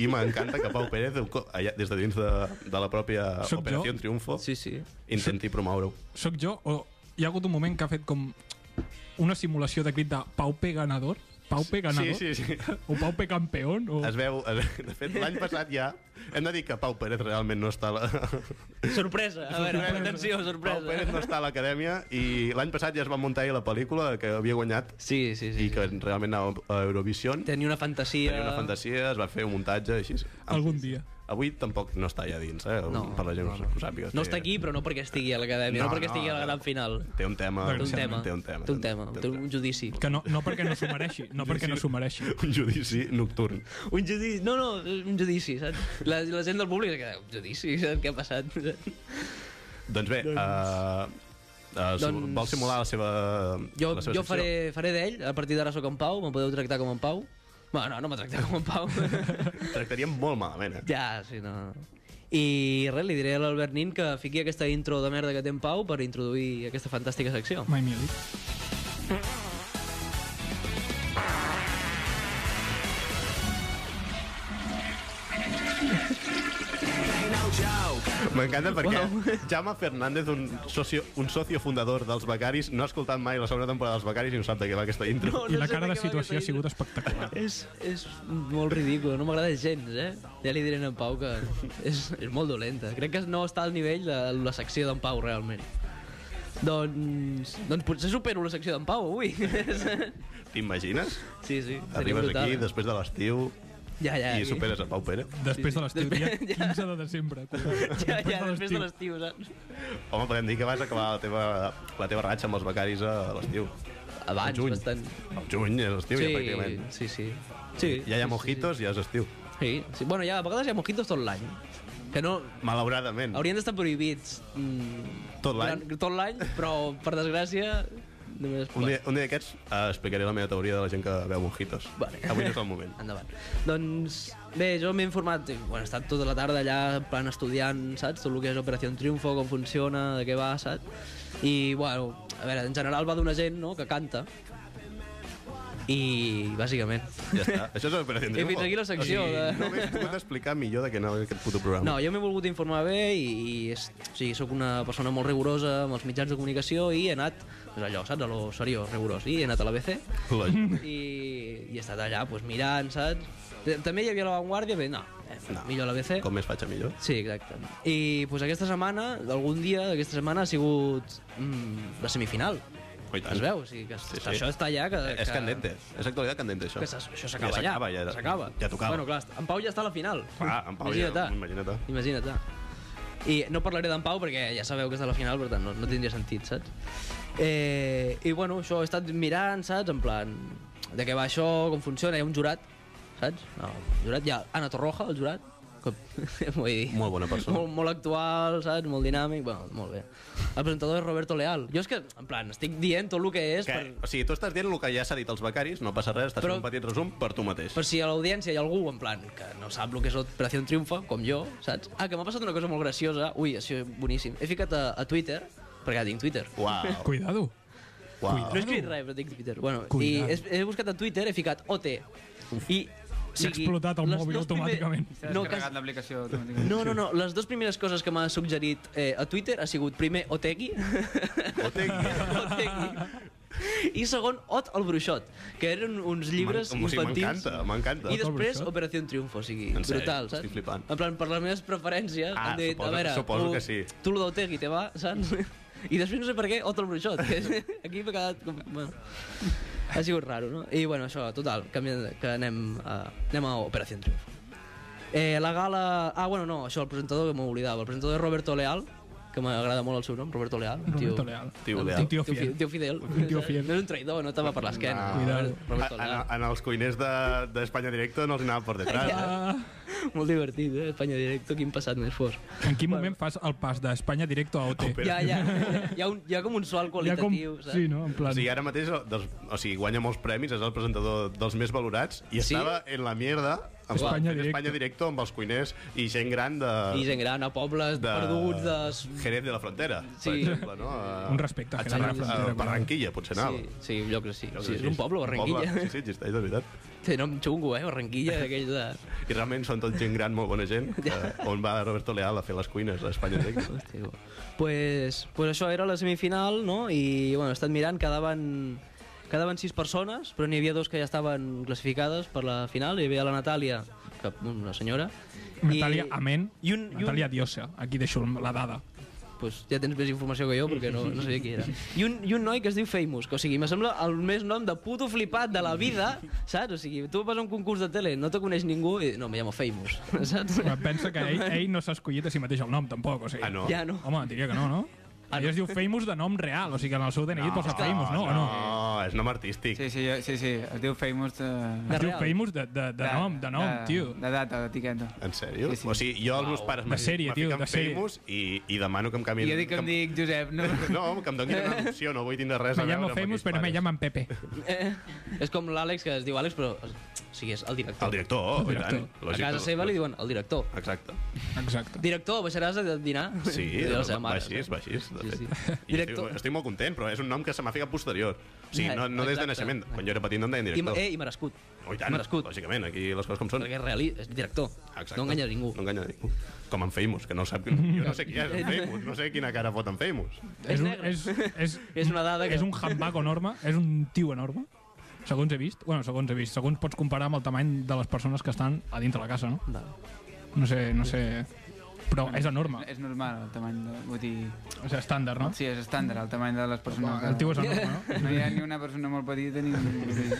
[SPEAKER 1] i m'encanta que Pau Pérez, ho co- allà, des de dins de, de la pròpia
[SPEAKER 2] Soc jo?
[SPEAKER 1] Operació en Triunfo,
[SPEAKER 3] Sí, sí.
[SPEAKER 1] intenti promoure-ho.
[SPEAKER 2] Soc jo o hi ha hagut un moment que ha fet com una simulació de crit de Pau P. Ganador? Pau P. Ganador?
[SPEAKER 1] Sí, sí, sí.
[SPEAKER 2] O Pau P. Campeón? O...
[SPEAKER 1] Es veu, eh, de fet, l'any passat ja hem de dir que Pau Pérez realment no està a la...
[SPEAKER 3] Sorpresa, a veure, atenció,
[SPEAKER 1] Pau Pérez
[SPEAKER 3] sorpresa.
[SPEAKER 1] no està a l'acadèmia i l'any passat ja es va muntar ahir la pel·lícula que havia guanyat
[SPEAKER 3] Sí, sí,
[SPEAKER 1] i
[SPEAKER 3] sí.
[SPEAKER 1] que realment anava a Eurovision.
[SPEAKER 3] Tenia una fantasia...
[SPEAKER 1] Tenia una fantasia, es va fer un muntatge així.
[SPEAKER 2] Algun dia.
[SPEAKER 1] Avui tampoc no està allà dins, eh?
[SPEAKER 3] No,
[SPEAKER 1] per la gent
[SPEAKER 3] no,
[SPEAKER 1] que ho sàpiga.
[SPEAKER 3] No
[SPEAKER 1] Té-
[SPEAKER 3] està aquí, però no perquè estigui a l'acadèmia, no,
[SPEAKER 1] No,
[SPEAKER 3] perquè
[SPEAKER 1] no,
[SPEAKER 3] estigui a la
[SPEAKER 1] no.
[SPEAKER 3] gran final.
[SPEAKER 1] Té un tema.
[SPEAKER 3] Té un tema,
[SPEAKER 1] Té un tema.
[SPEAKER 3] té un tema, té un judici.
[SPEAKER 2] Que no, no perquè no s'ho mereixi, no perquè no s'ho mereixi.
[SPEAKER 1] Un judici nocturn.
[SPEAKER 3] Un judici, no, no, un judici, saps? La, la gent del públic es queda, un judici, saps què ha passat?
[SPEAKER 1] Doncs bé, doncs... Uh,
[SPEAKER 3] Doncs-
[SPEAKER 1] vol simular la seva
[SPEAKER 3] Jo,
[SPEAKER 1] la seva
[SPEAKER 3] jo
[SPEAKER 1] secció?
[SPEAKER 3] faré, faré d'ell, a partir d'ara sóc en Pau, me podeu tractar com en Pau. Bueno, no, no me tracteu com en Pau.
[SPEAKER 1] Tractaríem molt malament, eh?
[SPEAKER 3] Ja, sí, no. I res, li diré a l'Albert Nin que fiqui aquesta intro de merda que té en Pau per introduir aquesta fantàstica secció.
[SPEAKER 2] My Mili.
[SPEAKER 1] M'encanta perquè Jaume Fernández, un socio, un socio fundador dels Becaris, no ha escoltat mai la segona temporada dels Becaris i no sap de què va aquesta intro.
[SPEAKER 3] No,
[SPEAKER 2] I la
[SPEAKER 3] sé
[SPEAKER 2] cara
[SPEAKER 3] per
[SPEAKER 2] de
[SPEAKER 3] què va
[SPEAKER 2] situació ha
[SPEAKER 3] aquesta
[SPEAKER 2] sigut
[SPEAKER 3] intro.
[SPEAKER 2] espectacular.
[SPEAKER 3] És, és molt ridícul, no m'agrada gens, eh? Ja li diré a en Pau que és, és molt dolenta. Crec que no està al nivell de la secció d'en Pau, realment. Doncs, doncs potser supero la secció d'en Pau avui.
[SPEAKER 1] T'imagines?
[SPEAKER 3] sí, sí. seria
[SPEAKER 1] Arribes
[SPEAKER 3] brutal. eh?
[SPEAKER 1] aquí després de l'estiu
[SPEAKER 3] Ja, ja.
[SPEAKER 1] i
[SPEAKER 3] aquí.
[SPEAKER 1] superes a Pau Pérez.
[SPEAKER 2] Després de l'estiu, dia
[SPEAKER 3] Després-
[SPEAKER 2] 15 de desembre.
[SPEAKER 3] Ja, ja, després de l'estiu, saps?
[SPEAKER 1] Home, podem dir que vas acabar la teva, la teva ratxa amb els becaris a l'estiu. Al
[SPEAKER 3] Abans,
[SPEAKER 1] juny.
[SPEAKER 3] bastant.
[SPEAKER 1] El juny és estiu, ja pràcticament.
[SPEAKER 3] sí, sí. sí
[SPEAKER 1] Ja hi
[SPEAKER 3] sí,
[SPEAKER 1] ha mojitos, ja és estiu.
[SPEAKER 3] Sí, sí. Bueno, ja, a vegades hi ha mojitos tot l'any. Que no...
[SPEAKER 1] Malauradament.
[SPEAKER 3] Haurien d'estar prohibits. Mm,
[SPEAKER 1] Tot l'any?
[SPEAKER 3] durant- Tot l'any, però, per desgràcia, només es
[SPEAKER 1] Un
[SPEAKER 3] pot.
[SPEAKER 1] dia, un dia d'aquests eh, explicaré la meva teoria de la gent que veu mojitos.
[SPEAKER 3] Vale.
[SPEAKER 1] Avui no és el moment.
[SPEAKER 3] Endavant. Doncs, bé, jo m'he informat, i, bueno, he estat tota la tarda allà, en plan, estudiant, saps? Tot el que és Operació Triunfo, com funciona, de què va, saps? I, bueno, a veure, en general va d'una gent, no?, que canta. I, bàsicament.
[SPEAKER 1] Ja està. Això és l'operació
[SPEAKER 3] I fins aquí la secció. de-
[SPEAKER 1] no m'he pogut explicar millor de què anava aquest puto programa.
[SPEAKER 3] No, jo m'he volgut informar bé i, i és, o sigui, sóc una persona molt rigorosa amb els mitjans de comunicació i he anat, doncs allò, saps, a lo seriós, rigorós, i he anat a l'ABC
[SPEAKER 1] No. La...
[SPEAKER 3] i, i he estat allà, doncs, mirant, saps? T- També hi havia l'avantguàrdia, bé, no, eh,
[SPEAKER 1] No.
[SPEAKER 3] millor l'ABC.
[SPEAKER 1] Com més faig, millor.
[SPEAKER 3] Sí, exacte. I pues, aquesta setmana, algun dia d'aquesta setmana, ha sigut mm, la semifinal.
[SPEAKER 1] Oh, i tant.
[SPEAKER 3] Es veu, o sigui, que
[SPEAKER 1] Sí,
[SPEAKER 3] sí,
[SPEAKER 1] sí.
[SPEAKER 3] sí. això està allà... Que,
[SPEAKER 1] Eh, És
[SPEAKER 3] que-
[SPEAKER 1] candente. És actualitat candente, això.
[SPEAKER 3] Que s'as- això s'acaba
[SPEAKER 1] ja
[SPEAKER 3] allà.
[SPEAKER 1] s'acaba, ja.
[SPEAKER 3] S'acaba.
[SPEAKER 1] Ja tocava.
[SPEAKER 3] Bueno, clar, en Pau ja està a la final.
[SPEAKER 1] Clar, en Pau ja,
[SPEAKER 3] Imagina't.
[SPEAKER 1] imagina't.
[SPEAKER 3] Imagina't. I no parlaré d'en Pau perquè ja sabeu que està a la final, per tant, no, no tindria sentit, saps? Eh, I bueno, això he estat mirant, saps? En plan, de què va això, com funciona, hi ha un jurat, saps? No, el jurat, hi ha Ana Torroja, el jurat, com, vull dir...
[SPEAKER 1] Molt bona persona.
[SPEAKER 3] Molt, molt actual, saps? Molt dinàmic, bueno, molt bé. El presentador és Roberto Leal. Jo és que, en plan, estic dient tot el que és
[SPEAKER 1] Que,
[SPEAKER 3] per...
[SPEAKER 1] o sigui, tu estàs dient el que ja s'ha dit als becaris, no passa res, estàs
[SPEAKER 3] Però-
[SPEAKER 1] fent un petit resum per tu mateix.
[SPEAKER 3] Per si a l'audiència hi ha algú, en plan, que no sap el que és Operació Triunfa, com jo, saps? Ah, que m'ha passat una cosa molt graciosa. Ui, això és boníssim. He ficat a, a Twitter, perquè ja tinc Twitter.
[SPEAKER 1] Uau,
[SPEAKER 2] Cuidado.
[SPEAKER 1] uau.
[SPEAKER 3] No he escrit res, però tinc Twitter. Bueno,
[SPEAKER 2] Cuidado.
[SPEAKER 3] i he, he buscat a Twitter, he ficat OT. I... o sigui,
[SPEAKER 2] explotat el
[SPEAKER 3] les
[SPEAKER 2] mòbil
[SPEAKER 3] dos primer-
[SPEAKER 2] automàticament.
[SPEAKER 4] S'ha
[SPEAKER 3] No,
[SPEAKER 4] descarregat
[SPEAKER 3] que-
[SPEAKER 4] l'aplicació automàticament.
[SPEAKER 3] no, no, no, les dues primeres coses que m'ha suggerit eh, a Twitter ha sigut primer Otegi, Otegi i segon Ot el Bruixot, que eren uns llibres
[SPEAKER 1] M'en- o sigui,
[SPEAKER 3] infantils.
[SPEAKER 1] m'encanta, m'encanta. Ot
[SPEAKER 3] I
[SPEAKER 1] el
[SPEAKER 3] després
[SPEAKER 2] Bruixot?
[SPEAKER 3] Operació Triunfo, o sigui,
[SPEAKER 1] En sèrio?
[SPEAKER 3] brutal, saps?
[SPEAKER 1] Estic flipant.
[SPEAKER 3] En plan, per les meves preferències,
[SPEAKER 1] Ah,
[SPEAKER 3] han dit,
[SPEAKER 1] suposo-
[SPEAKER 3] a veure,
[SPEAKER 1] suposo
[SPEAKER 3] tu,
[SPEAKER 1] que sí.
[SPEAKER 3] tu lo d'Otegi te va, saps? I després no sé per què Ot el Bruixot, que aquí m'ha quedat com... Bueno. Ha sigut raro, no? I bueno, això, total, canviant, de- que anem a, anem a Operació Triunfo. Eh, la gala... Ah, bueno, no, això, el presentador que m'oblidava. El presentador és Roberto Leal, que m'agrada molt el seu nom, Roberto Leal. un
[SPEAKER 2] Roberto Leal.
[SPEAKER 1] Tio
[SPEAKER 2] Un
[SPEAKER 1] Leal.
[SPEAKER 2] tio
[SPEAKER 3] fi-
[SPEAKER 2] fiel.
[SPEAKER 3] tio fidel.
[SPEAKER 2] Un tio fiel.
[SPEAKER 3] No és un traïdor, no te va per l'esquena.
[SPEAKER 2] Cuidado.
[SPEAKER 1] En,
[SPEAKER 3] Roberto
[SPEAKER 1] en,
[SPEAKER 3] Leal.
[SPEAKER 1] en els cuiners de- d'Espanya de, Directa no els anava per detrás. eh?
[SPEAKER 2] Ah,
[SPEAKER 3] Molt divertit, eh? Espanya Directo, quin passat més fort.
[SPEAKER 2] en quin moment fas el pas d'Espanya directo a OT?
[SPEAKER 3] Ja, eh? ja, hi ha, un, hi ha com un sol qualitatiu, saps?
[SPEAKER 2] Sí, no? En
[SPEAKER 1] O
[SPEAKER 2] plan...
[SPEAKER 1] sigui, ara mateix dels, o sigui, guanya molts premis, és el presentador dels més valorats i
[SPEAKER 3] Sí?
[SPEAKER 1] estava en la mierda amb
[SPEAKER 2] Espanya
[SPEAKER 1] fent
[SPEAKER 2] Directo.
[SPEAKER 1] Espanya Directo amb els cuiners i gent gran de...
[SPEAKER 3] I gent gran, a pobles
[SPEAKER 1] de...
[SPEAKER 3] perduts, de...
[SPEAKER 1] Jerez de la Frontera, per
[SPEAKER 3] Sí.
[SPEAKER 1] exemple, no? A,
[SPEAKER 2] Un respecte a
[SPEAKER 1] a,
[SPEAKER 2] Jerez de la
[SPEAKER 1] Xarra-
[SPEAKER 2] Frontera,
[SPEAKER 1] a Barranquilla, potser anava.
[SPEAKER 3] Sí, sí, un lloc que sí.
[SPEAKER 1] Jo
[SPEAKER 3] sí
[SPEAKER 1] crec
[SPEAKER 3] és
[SPEAKER 1] que
[SPEAKER 3] un poble, Barranquilla.
[SPEAKER 1] Sí, sí, existeix, de veritat.
[SPEAKER 3] Té nom xungo, eh? Barranquilla, aquell de...
[SPEAKER 1] I realment són tot gent gran, molt bona gent, que, on va Roberto Leal a fer les cuines a Espanya Directa.
[SPEAKER 3] Hòstia, bo. pues, pues això era la semifinal, no? I, bueno, he estat mirant, quedaven, quedaven sis persones, però n'hi havia dos que ja estaven classificades per la final. Hi havia la Natàlia, que, una senyora.
[SPEAKER 2] Natàlia, amén.
[SPEAKER 3] I un, i un,
[SPEAKER 2] Natàlia Diosa. Aquí deixo la dada.
[SPEAKER 3] pues, ja tens més informació que jo, perquè no, no sabia qui era. I un, I un noi que es diu Famous, que, o sigui, me sembla el més nom de puto flipat de la vida, saps? O sigui, tu vas a un concurs de tele, no te coneix ningú i... No, me llamo Famous, saps?
[SPEAKER 2] Però pensa que ell, ell no s'ha escollit a si mateix el nom, tampoc. O sigui,
[SPEAKER 1] Ah, no?
[SPEAKER 3] Ja no.
[SPEAKER 2] Home, diria que no, no?
[SPEAKER 3] Ah,
[SPEAKER 2] Ell es diu Famous de nom real, o sigui que en el seu DNI posa Famous, no? O
[SPEAKER 1] Ah, no,
[SPEAKER 2] no?
[SPEAKER 1] és nom artístic.
[SPEAKER 4] Sí, sí, jo- sí, sí, es diu Famous de...
[SPEAKER 3] De
[SPEAKER 2] Es diu
[SPEAKER 3] real.
[SPEAKER 2] Famous de, de, de nom, de nom,
[SPEAKER 4] de,
[SPEAKER 2] tio.
[SPEAKER 4] De data, d'etiqueta.
[SPEAKER 1] En sèrio? Sí,
[SPEAKER 4] Sí, sí.
[SPEAKER 1] sí. O sigui, jo els meus pares
[SPEAKER 2] De sèrie, tio, de sèrie.
[SPEAKER 1] famous i, i demano que em
[SPEAKER 4] I
[SPEAKER 1] canviïn...
[SPEAKER 4] jo dic que em dic Josep, no?
[SPEAKER 1] No, que em donin una opció, no vull tindre res a
[SPEAKER 2] Me
[SPEAKER 1] veure
[SPEAKER 2] llamo
[SPEAKER 1] amb
[SPEAKER 2] Famous,
[SPEAKER 1] aquells
[SPEAKER 2] però me
[SPEAKER 1] pares.
[SPEAKER 2] llaman Pepe.
[SPEAKER 3] Eh, és com l'Àlex, que es diu Àlex, però... O sigui, és el director.
[SPEAKER 1] El director, oh,
[SPEAKER 2] El
[SPEAKER 1] i tant.
[SPEAKER 2] director.
[SPEAKER 3] A
[SPEAKER 1] Lògic,
[SPEAKER 3] casa
[SPEAKER 1] però-
[SPEAKER 3] seva li diuen el director.
[SPEAKER 1] Exacte.
[SPEAKER 2] Exacte.
[SPEAKER 3] Director, baixaràs a dinar?
[SPEAKER 1] Sí,
[SPEAKER 3] Li diu la seva
[SPEAKER 1] va
[SPEAKER 3] mare,
[SPEAKER 1] així, va així, de
[SPEAKER 3] Sí,
[SPEAKER 1] fet.
[SPEAKER 3] sí.
[SPEAKER 1] I
[SPEAKER 3] Director.
[SPEAKER 1] estic, estic molt content, però és un nom que se m'ha ficat posterior. O sigui,
[SPEAKER 3] Ja,
[SPEAKER 1] no, no des
[SPEAKER 3] exacte.
[SPEAKER 1] de naixement. Quan jo era petit no em deien
[SPEAKER 3] I,
[SPEAKER 1] director.
[SPEAKER 3] eh, i merescut.
[SPEAKER 1] Oh, i tant,
[SPEAKER 3] merescut.
[SPEAKER 1] lògicament, aquí les coses com són.
[SPEAKER 3] Perquè és, reali... és director.
[SPEAKER 1] Exacte.
[SPEAKER 3] No enganya ningú.
[SPEAKER 1] No enganya ningú. Com en Famous, que no sap... Jo no sé qui és en Famous, no sé quina cara fot en Famous.
[SPEAKER 2] És, un,
[SPEAKER 3] negre.
[SPEAKER 2] és, és,
[SPEAKER 3] És una dada que-
[SPEAKER 2] És un handbag enorme, és un tio enorme, segons he vist. Bueno, segons he vist, segons pots comparar amb el tamany de les persones que estan a dintre la casa, no?
[SPEAKER 3] Val.
[SPEAKER 2] No sé, no sé... Però és enorme,
[SPEAKER 4] És normal, el tamany de... Vull dir...
[SPEAKER 2] és estàndard, no?
[SPEAKER 4] Sí, és estàndard, el tamany de les persones.
[SPEAKER 2] Ah. El tio és
[SPEAKER 4] de...
[SPEAKER 2] enorme, no?
[SPEAKER 4] No hi ha ni una persona molt petita ni... vull dir,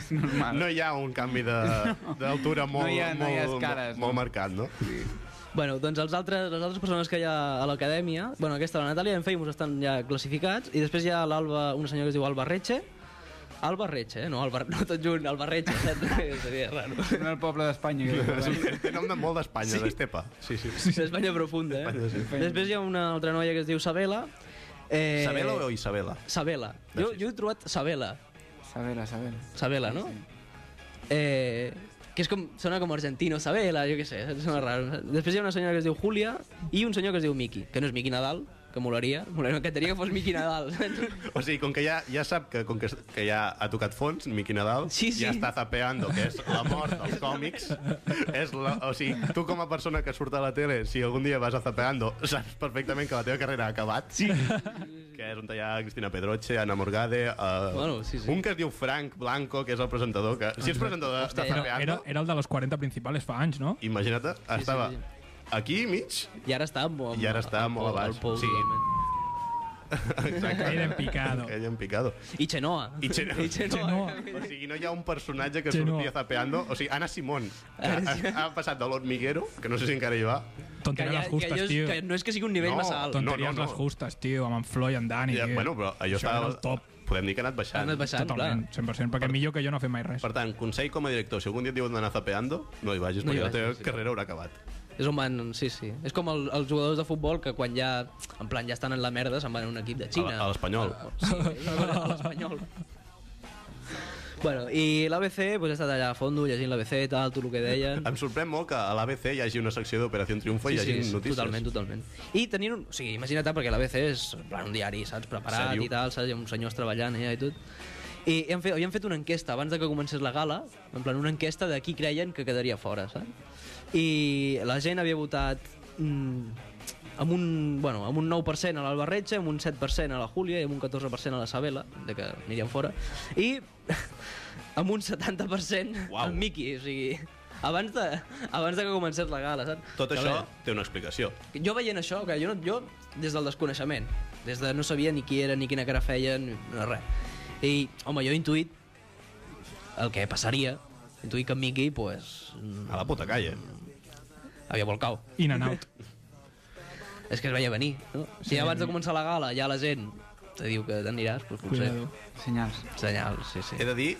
[SPEAKER 4] És normal.
[SPEAKER 1] No hi ha un canvi de- d'altura molt,
[SPEAKER 4] hi ha- Ah. no hi ha
[SPEAKER 1] molt,
[SPEAKER 4] escales,
[SPEAKER 1] molt
[SPEAKER 4] no?
[SPEAKER 1] marcat, no?
[SPEAKER 3] Bueno, doncs els altres, les altres persones que hi ha a l'acadèmia, bueno, aquesta, la Natàlia i en Famous estan ja classificats, i després hi ha l'Alba, una senyora que es diu Alba Retxe, Alba Retxe, eh? no, Alba, no tot junt, Alba Retxe, saps? seria raro.
[SPEAKER 4] No el poble d'Espanya. que diu,
[SPEAKER 1] És un,
[SPEAKER 4] bueno.
[SPEAKER 1] té nom de molt d'Espanya, sí. d'Estepa. Sí, sí.
[SPEAKER 3] Sí, Espanya profunda, eh?
[SPEAKER 1] Espanya, sí.
[SPEAKER 3] Després hi ha una altra noia que es diu Sabela. Eh,
[SPEAKER 1] Sabela o Isabela?
[SPEAKER 3] Sabela. Jo,
[SPEAKER 1] Gràcies.
[SPEAKER 3] jo he trobat Sabela.
[SPEAKER 4] Sabela, Sabela.
[SPEAKER 3] Sabela, no? Eh, que és com, sona com argentino, Sabela, jo què sé, sona raro. Després hi ha una senyora que es diu Julia i un senyor que es diu Miki, que no és Miki Nadal, que molaria, molaria una canteria que fos Miqui Nadal.
[SPEAKER 1] O sigui, com que ja, ja sap que, com que, que ja ha tocat fons, Miqui Nadal,
[SPEAKER 3] Sí, sí.
[SPEAKER 1] ja està zapeando, que és la mort dels còmics. és la, o sigui, tu com a persona que surt a la tele, si algun dia vas a zapeando, saps perfectament que la teva carrera ha acabat. Sí. que és on hi ha Cristina Pedroche, Ana Morgade... Uh,
[SPEAKER 3] Bueno, sí, sí.
[SPEAKER 1] Un que es diu Frank Blanco, que és el presentador, que si ets presentador de,
[SPEAKER 3] Hòstia,
[SPEAKER 1] de
[SPEAKER 3] era-
[SPEAKER 1] zapeando...
[SPEAKER 2] Era, era el de les 40 principals fa anys, no?
[SPEAKER 1] Imagina't, estava
[SPEAKER 3] sí.
[SPEAKER 1] aquí mig,
[SPEAKER 3] I ara està molt...
[SPEAKER 1] I ara està molt a baix, sí.
[SPEAKER 3] Sí.
[SPEAKER 1] exacte.
[SPEAKER 2] Era en picado.
[SPEAKER 1] Ella en picado.
[SPEAKER 3] I Xenoa.
[SPEAKER 1] I Xenoa.
[SPEAKER 3] I Xenoa.
[SPEAKER 1] O sigui, no hi ha un personatge que
[SPEAKER 2] Sí, no.
[SPEAKER 1] sortia zapeando. O sigui, Anna Simón, que
[SPEAKER 3] Ara
[SPEAKER 1] ha,
[SPEAKER 3] sí.
[SPEAKER 1] ha passat de l'hormiguero, que no sé si encara hi va,
[SPEAKER 3] Que,
[SPEAKER 2] Tonteries
[SPEAKER 3] ja,
[SPEAKER 2] les
[SPEAKER 3] que,
[SPEAKER 2] justes,
[SPEAKER 3] jo,
[SPEAKER 2] tio.
[SPEAKER 3] que no és que sigui un nivell
[SPEAKER 1] No,
[SPEAKER 3] no, massa alt.
[SPEAKER 1] doncs-
[SPEAKER 2] Tonteries
[SPEAKER 1] No, no, no.
[SPEAKER 2] les justes, tio, amb en Flo i en Dani.
[SPEAKER 1] ja,
[SPEAKER 2] tio.
[SPEAKER 1] bueno, però allò
[SPEAKER 2] Això era
[SPEAKER 1] estava...
[SPEAKER 2] el top.
[SPEAKER 1] Podem dir que ha anat baixant.
[SPEAKER 3] Ha anat baixant,
[SPEAKER 2] Totalment,
[SPEAKER 3] clar.
[SPEAKER 2] 100%, perquè millor que jo no fer mai res.
[SPEAKER 1] Per tant, consell com a director, si algun dia et diuen d'anar zapeando, no hi vagis,
[SPEAKER 3] No hi
[SPEAKER 1] perquè la
[SPEAKER 3] vagis,
[SPEAKER 1] teva
[SPEAKER 3] sí.
[SPEAKER 1] carrera haurà acabat.
[SPEAKER 3] És on van... Sí, sí. És com el, els jugadors de futbol que quan ja... En plan, ja estan en la merda, se'n van a un equip de Xina.
[SPEAKER 1] A- a l'Espanyol.
[SPEAKER 3] Sí, a l'Espanyol. Bueno, i l'ABC, pues, he estat allà a fondo llegint l'ABC, tal, tot el que deien.
[SPEAKER 1] Em sorprèn molt que a l'ABC hi hagi una secció d'Operació Triunfo i hi hagi notícies.
[SPEAKER 3] Totalment, totalment. I tenir un... O sigui, imagina't, eh, perquè l'ABC és en plan, un diari, saps? Preparat
[SPEAKER 1] Sèrio.
[SPEAKER 3] i tal, saps? Hi ha uns senyors treballant allà i tot. I hem fet, havien fet una enquesta abans de que comencés la gala, en plan una enquesta de qui creien que quedaria fora, saps? I la gent havia votat mm, amb un, bueno, amb un 9% a l'Albarretxe, amb un 7% a la Júlia i amb un 14% a la Sabela, de que anirien fora, i amb un 70%
[SPEAKER 1] Uau.
[SPEAKER 3] al Miki, o sigui, abans de, abans de que comencés la gala, saps?
[SPEAKER 1] Tot
[SPEAKER 3] Que
[SPEAKER 1] això
[SPEAKER 3] bé
[SPEAKER 1] té una explicació.
[SPEAKER 3] jo veient això, que jo, no, jo des del desconeixement, des de no sabia ni qui era, ni quina cara feia, ni no, res. I, home, jo he intuït el que passaria, he intuït que en Mickey, pues,
[SPEAKER 1] A la puta calle.
[SPEAKER 3] havia volcat.
[SPEAKER 2] In and out.
[SPEAKER 3] És que es veia venir, no? Si ja abans de començar la gala ja la gent te diu que t'aniràs, doncs potser...
[SPEAKER 2] Cuidado.
[SPEAKER 4] Senyals.
[SPEAKER 3] Senyals, sí, sí.
[SPEAKER 1] He de dir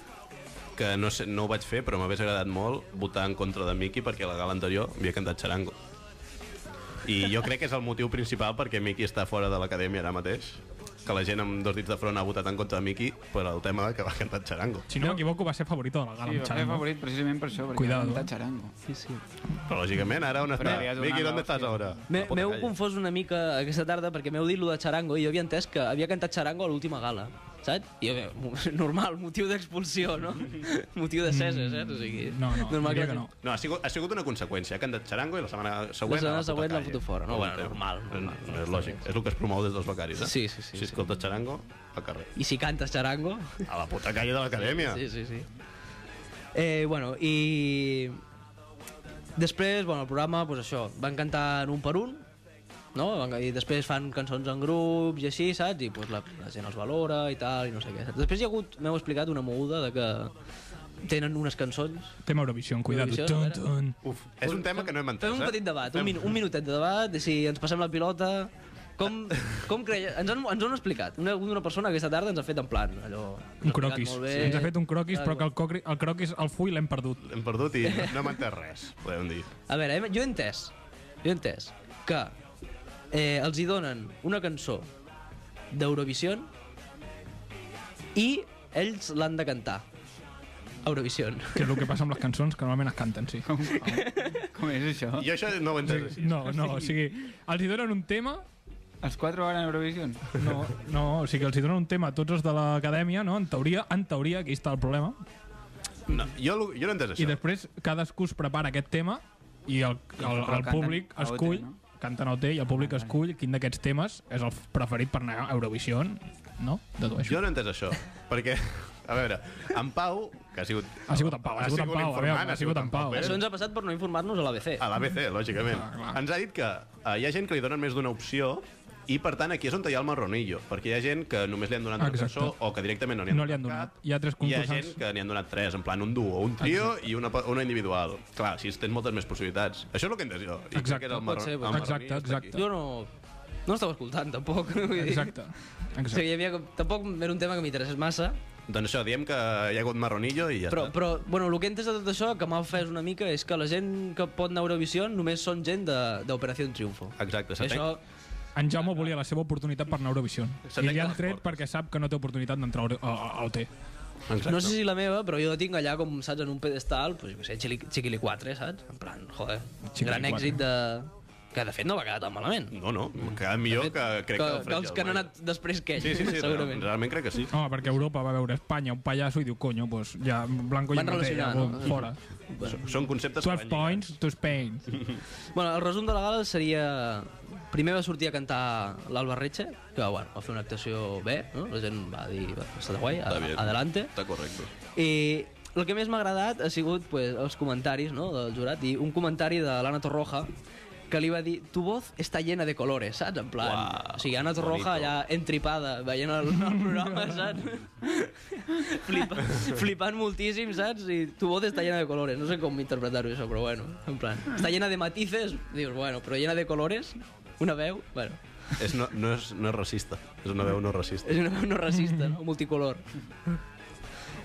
[SPEAKER 1] que no, sé, no ho vaig fer, però m'hagués agradat molt votar en contra de Miki perquè a la gala anterior havia cantat xarango. I jo crec que és el motiu principal perquè Miki està fora de l'acadèmia ara mateix, que la gent amb dos dits de front ha votat en contra de Miki per el tema de que va cantar xarango.
[SPEAKER 2] Si no m'equivoco, va ser favorito de la gala. em
[SPEAKER 4] Sí, va ser
[SPEAKER 2] sembla.
[SPEAKER 4] favorit precisament per això, perquè
[SPEAKER 2] Ah, Cuidado. eh.
[SPEAKER 4] Cuidado. ha cantat xarango.
[SPEAKER 3] sí, sí.
[SPEAKER 1] Però lògicament, ara on està?
[SPEAKER 4] Però li ha donat
[SPEAKER 1] Miki,
[SPEAKER 4] la
[SPEAKER 1] on estàs
[SPEAKER 4] hòstia.
[SPEAKER 1] ara?
[SPEAKER 3] M'he-
[SPEAKER 1] A la puta
[SPEAKER 3] M'heu
[SPEAKER 1] calle.
[SPEAKER 3] confós una mica aquesta tarda perquè m'heu dit lo de Charango i jo havia entès que havia cantat Charango a l'última gala, saps? I jo, bé, normal, motiu d'expulsió, no? motiu de César, saps? O sigui,
[SPEAKER 2] Mm. No, no,
[SPEAKER 3] normal
[SPEAKER 2] diria
[SPEAKER 3] la
[SPEAKER 2] que
[SPEAKER 3] gent-
[SPEAKER 2] no.
[SPEAKER 1] No, ha sigut, ha sigut una conseqüència. Ha cantat xarango i la setmana següent...
[SPEAKER 3] La
[SPEAKER 1] a
[SPEAKER 3] setmana
[SPEAKER 1] puta
[SPEAKER 3] següent la
[SPEAKER 1] calle.
[SPEAKER 3] foto fora. No, bueno,
[SPEAKER 1] té-
[SPEAKER 3] normal, normal.
[SPEAKER 1] No, eh, és lògic. És el que es promou des dels becaris, eh?
[SPEAKER 3] Sí, sí, sí,
[SPEAKER 1] Si
[SPEAKER 3] sí.
[SPEAKER 1] escoltes xarango, al carrer.
[SPEAKER 3] I si cantes Charango...
[SPEAKER 1] A la puta calle de l'acadèmia.
[SPEAKER 3] Sí, sí, sí. Eh, bueno, i... Després, bueno, el programa, doncs això, van cantant un per un, no? Van- I després fan cançons en grups i així, saps? I doncs, la, la gent els valora i tal, i no sé què. saps? Després hi ha hagut, m'heu explicat, una moguda de que tenen unes cançons.
[SPEAKER 2] Tema Eurovision, cuidado.
[SPEAKER 3] Eurovision,
[SPEAKER 2] Tun,
[SPEAKER 3] a veure.
[SPEAKER 2] tun.
[SPEAKER 1] Uf, és un tema que no hem entès,
[SPEAKER 3] Fem un
[SPEAKER 1] eh?
[SPEAKER 3] petit debat, un,
[SPEAKER 1] Fem-
[SPEAKER 3] min, un minutet de debat, i si ens passem la pilota... Com, com creia... Ens han, ens ho han explicat. Una, una persona aquesta tarda ens ha fet en plan, allò... ens ho ha
[SPEAKER 2] Un
[SPEAKER 3] explicat
[SPEAKER 2] croquis.
[SPEAKER 3] molt bé,
[SPEAKER 2] Ens ha fet un croquis,
[SPEAKER 3] tal,
[SPEAKER 2] però que el, cocri, el croquis, el full l'hem perdut.
[SPEAKER 1] Hem perdut i no hem entès res, podem dir.
[SPEAKER 3] A veure, hem- jo he entès, jo he entès que eh, els hi donen una cançó d'Eurovision i ells l'han de cantar. Eurovision.
[SPEAKER 1] Eh?
[SPEAKER 2] Que és el que passa amb les cançons, que normalment es canten, sí.
[SPEAKER 4] Com, com, com és això?
[SPEAKER 1] Jo això no ho he entès així.
[SPEAKER 2] No, no, o sigui, els hi donen un tema...
[SPEAKER 4] Els quatre van a Eurovision?
[SPEAKER 2] No, no, o sigui, els hi donen un tema a tots els de l'acadèmia, no? En teoria, en teoria, aquí està el problema.
[SPEAKER 1] No, jo, lo- jo no he entès
[SPEAKER 2] I
[SPEAKER 1] això.
[SPEAKER 2] després cadascú es prepara aquest tema i el, el,
[SPEAKER 4] Però
[SPEAKER 2] el
[SPEAKER 4] canten
[SPEAKER 2] públic
[SPEAKER 4] a OT,
[SPEAKER 2] escull...
[SPEAKER 4] no?
[SPEAKER 2] Canten a OT i el públic escull quin d'aquests temes és el preferit per anar a Eurovision, no? Dedueixo.
[SPEAKER 1] Jo no he entès això, perquè... A veure, en Pau, que ha sigut...
[SPEAKER 2] Ha sigut en Pau, ha sigut en Pau, a veure,
[SPEAKER 1] informant,
[SPEAKER 2] ha sigut en Pau. eh? Ah,
[SPEAKER 1] Pérez.
[SPEAKER 3] Això ens ha passat per no informar-nos a l'ABC.
[SPEAKER 1] A l'ABC, lògicament. Ens ha dit que eh, hi ha gent que li donen més d'una opció i, per tant, aquí és on hi ha el marronillo, perquè hi ha gent que només li han donat una
[SPEAKER 2] Exacte.
[SPEAKER 1] cançó o que directament no li han,
[SPEAKER 2] No li han donat.
[SPEAKER 1] cap.
[SPEAKER 2] Hi ha
[SPEAKER 1] Hi
[SPEAKER 2] tres
[SPEAKER 1] ha
[SPEAKER 2] concursants.
[SPEAKER 1] gent que n'hi han donat tres, en plan un duo, un trio i una, pa- una individual. Clar, així tens moltes més possibilitats. Això és el que he entès jo. I crec
[SPEAKER 2] Exacte.
[SPEAKER 1] que és el
[SPEAKER 2] Pot
[SPEAKER 1] marro-
[SPEAKER 3] ser, pot
[SPEAKER 1] el
[SPEAKER 3] ser.
[SPEAKER 1] marronillo
[SPEAKER 2] Exacte,
[SPEAKER 1] està aquí.
[SPEAKER 2] exacte.
[SPEAKER 3] Jo no... No estava escoltant, tampoc. vull dir.
[SPEAKER 2] Exacte.
[SPEAKER 3] O sigui,
[SPEAKER 2] Exacte.
[SPEAKER 3] hi havia, com- tampoc era un tema que m'interessés massa,
[SPEAKER 1] Doncs això, diem que hi ha hagut marronillo i ja
[SPEAKER 3] però,
[SPEAKER 1] està.
[SPEAKER 3] però bueno, el que he entès de tot això, que m'ha ofès una mica, és que la gent que pot anar a Eurovision només són gent de- d'Operació Triunfo.
[SPEAKER 1] Exacte, s'atenc.
[SPEAKER 3] Això,
[SPEAKER 2] En Jaume volia la seva oportunitat per anar a Eurovision.
[SPEAKER 1] Se
[SPEAKER 2] I
[SPEAKER 1] tanca
[SPEAKER 2] li han
[SPEAKER 1] les
[SPEAKER 2] tret
[SPEAKER 1] portes.
[SPEAKER 2] perquè sap que no té oportunitat d'entrar a Euro- a, a OT.
[SPEAKER 1] Exacte.
[SPEAKER 3] No sé si la meva, però jo la tinc allà, com saps, en un pedestal, pues, jo què sé, Chiquili 4, saps? En plan, joder,
[SPEAKER 2] Chiquili
[SPEAKER 3] gran èxit de, Que, de fet, no va quedar tan malament.
[SPEAKER 1] No, no, queda millor que crec que,
[SPEAKER 3] Mm. que,
[SPEAKER 1] el
[SPEAKER 3] que els que han anat després que ell,
[SPEAKER 1] Sí, sí, sí,
[SPEAKER 3] segurament.
[SPEAKER 1] realment, realment crec que sí.
[SPEAKER 2] Home, perquè Europa va veure Espanya, un pallasso, i diu, conyo, doncs ja Blanco i
[SPEAKER 3] Van relacionar, no?
[SPEAKER 2] fora.
[SPEAKER 1] S- Són conceptes... que van lligats.
[SPEAKER 2] 12 points to Spain.
[SPEAKER 3] Bueno, el resum de la gala seria... Primer va sortir a cantar l'Alba Reche, que bueno, va fer una actuació bé, no? la gent va dir, va, està guai,
[SPEAKER 1] Está bien.
[SPEAKER 3] adelante.
[SPEAKER 1] Està correcte.
[SPEAKER 3] I el que més m'ha agradat ha sigut pues, els comentaris no, del jurat i un comentari de l'Anna Torroja que li va dir, tu voz està llena de colores, saps? En plan,
[SPEAKER 1] Uau,
[SPEAKER 3] o sigui, Anna Torroja
[SPEAKER 1] bonito.
[SPEAKER 3] ja entripada, veient el, el programa, saps? Flipa, flipant moltíssim, saps? I tu voz està llena de colores, no sé com interpretar-ho això, però bueno, en plan, està llena de matices, dius, bueno, però llena de colores, una veu, bueno,
[SPEAKER 1] És no, no, és, no és racista, és una veu no racista.
[SPEAKER 3] és una veu no racista, no? Multicolor.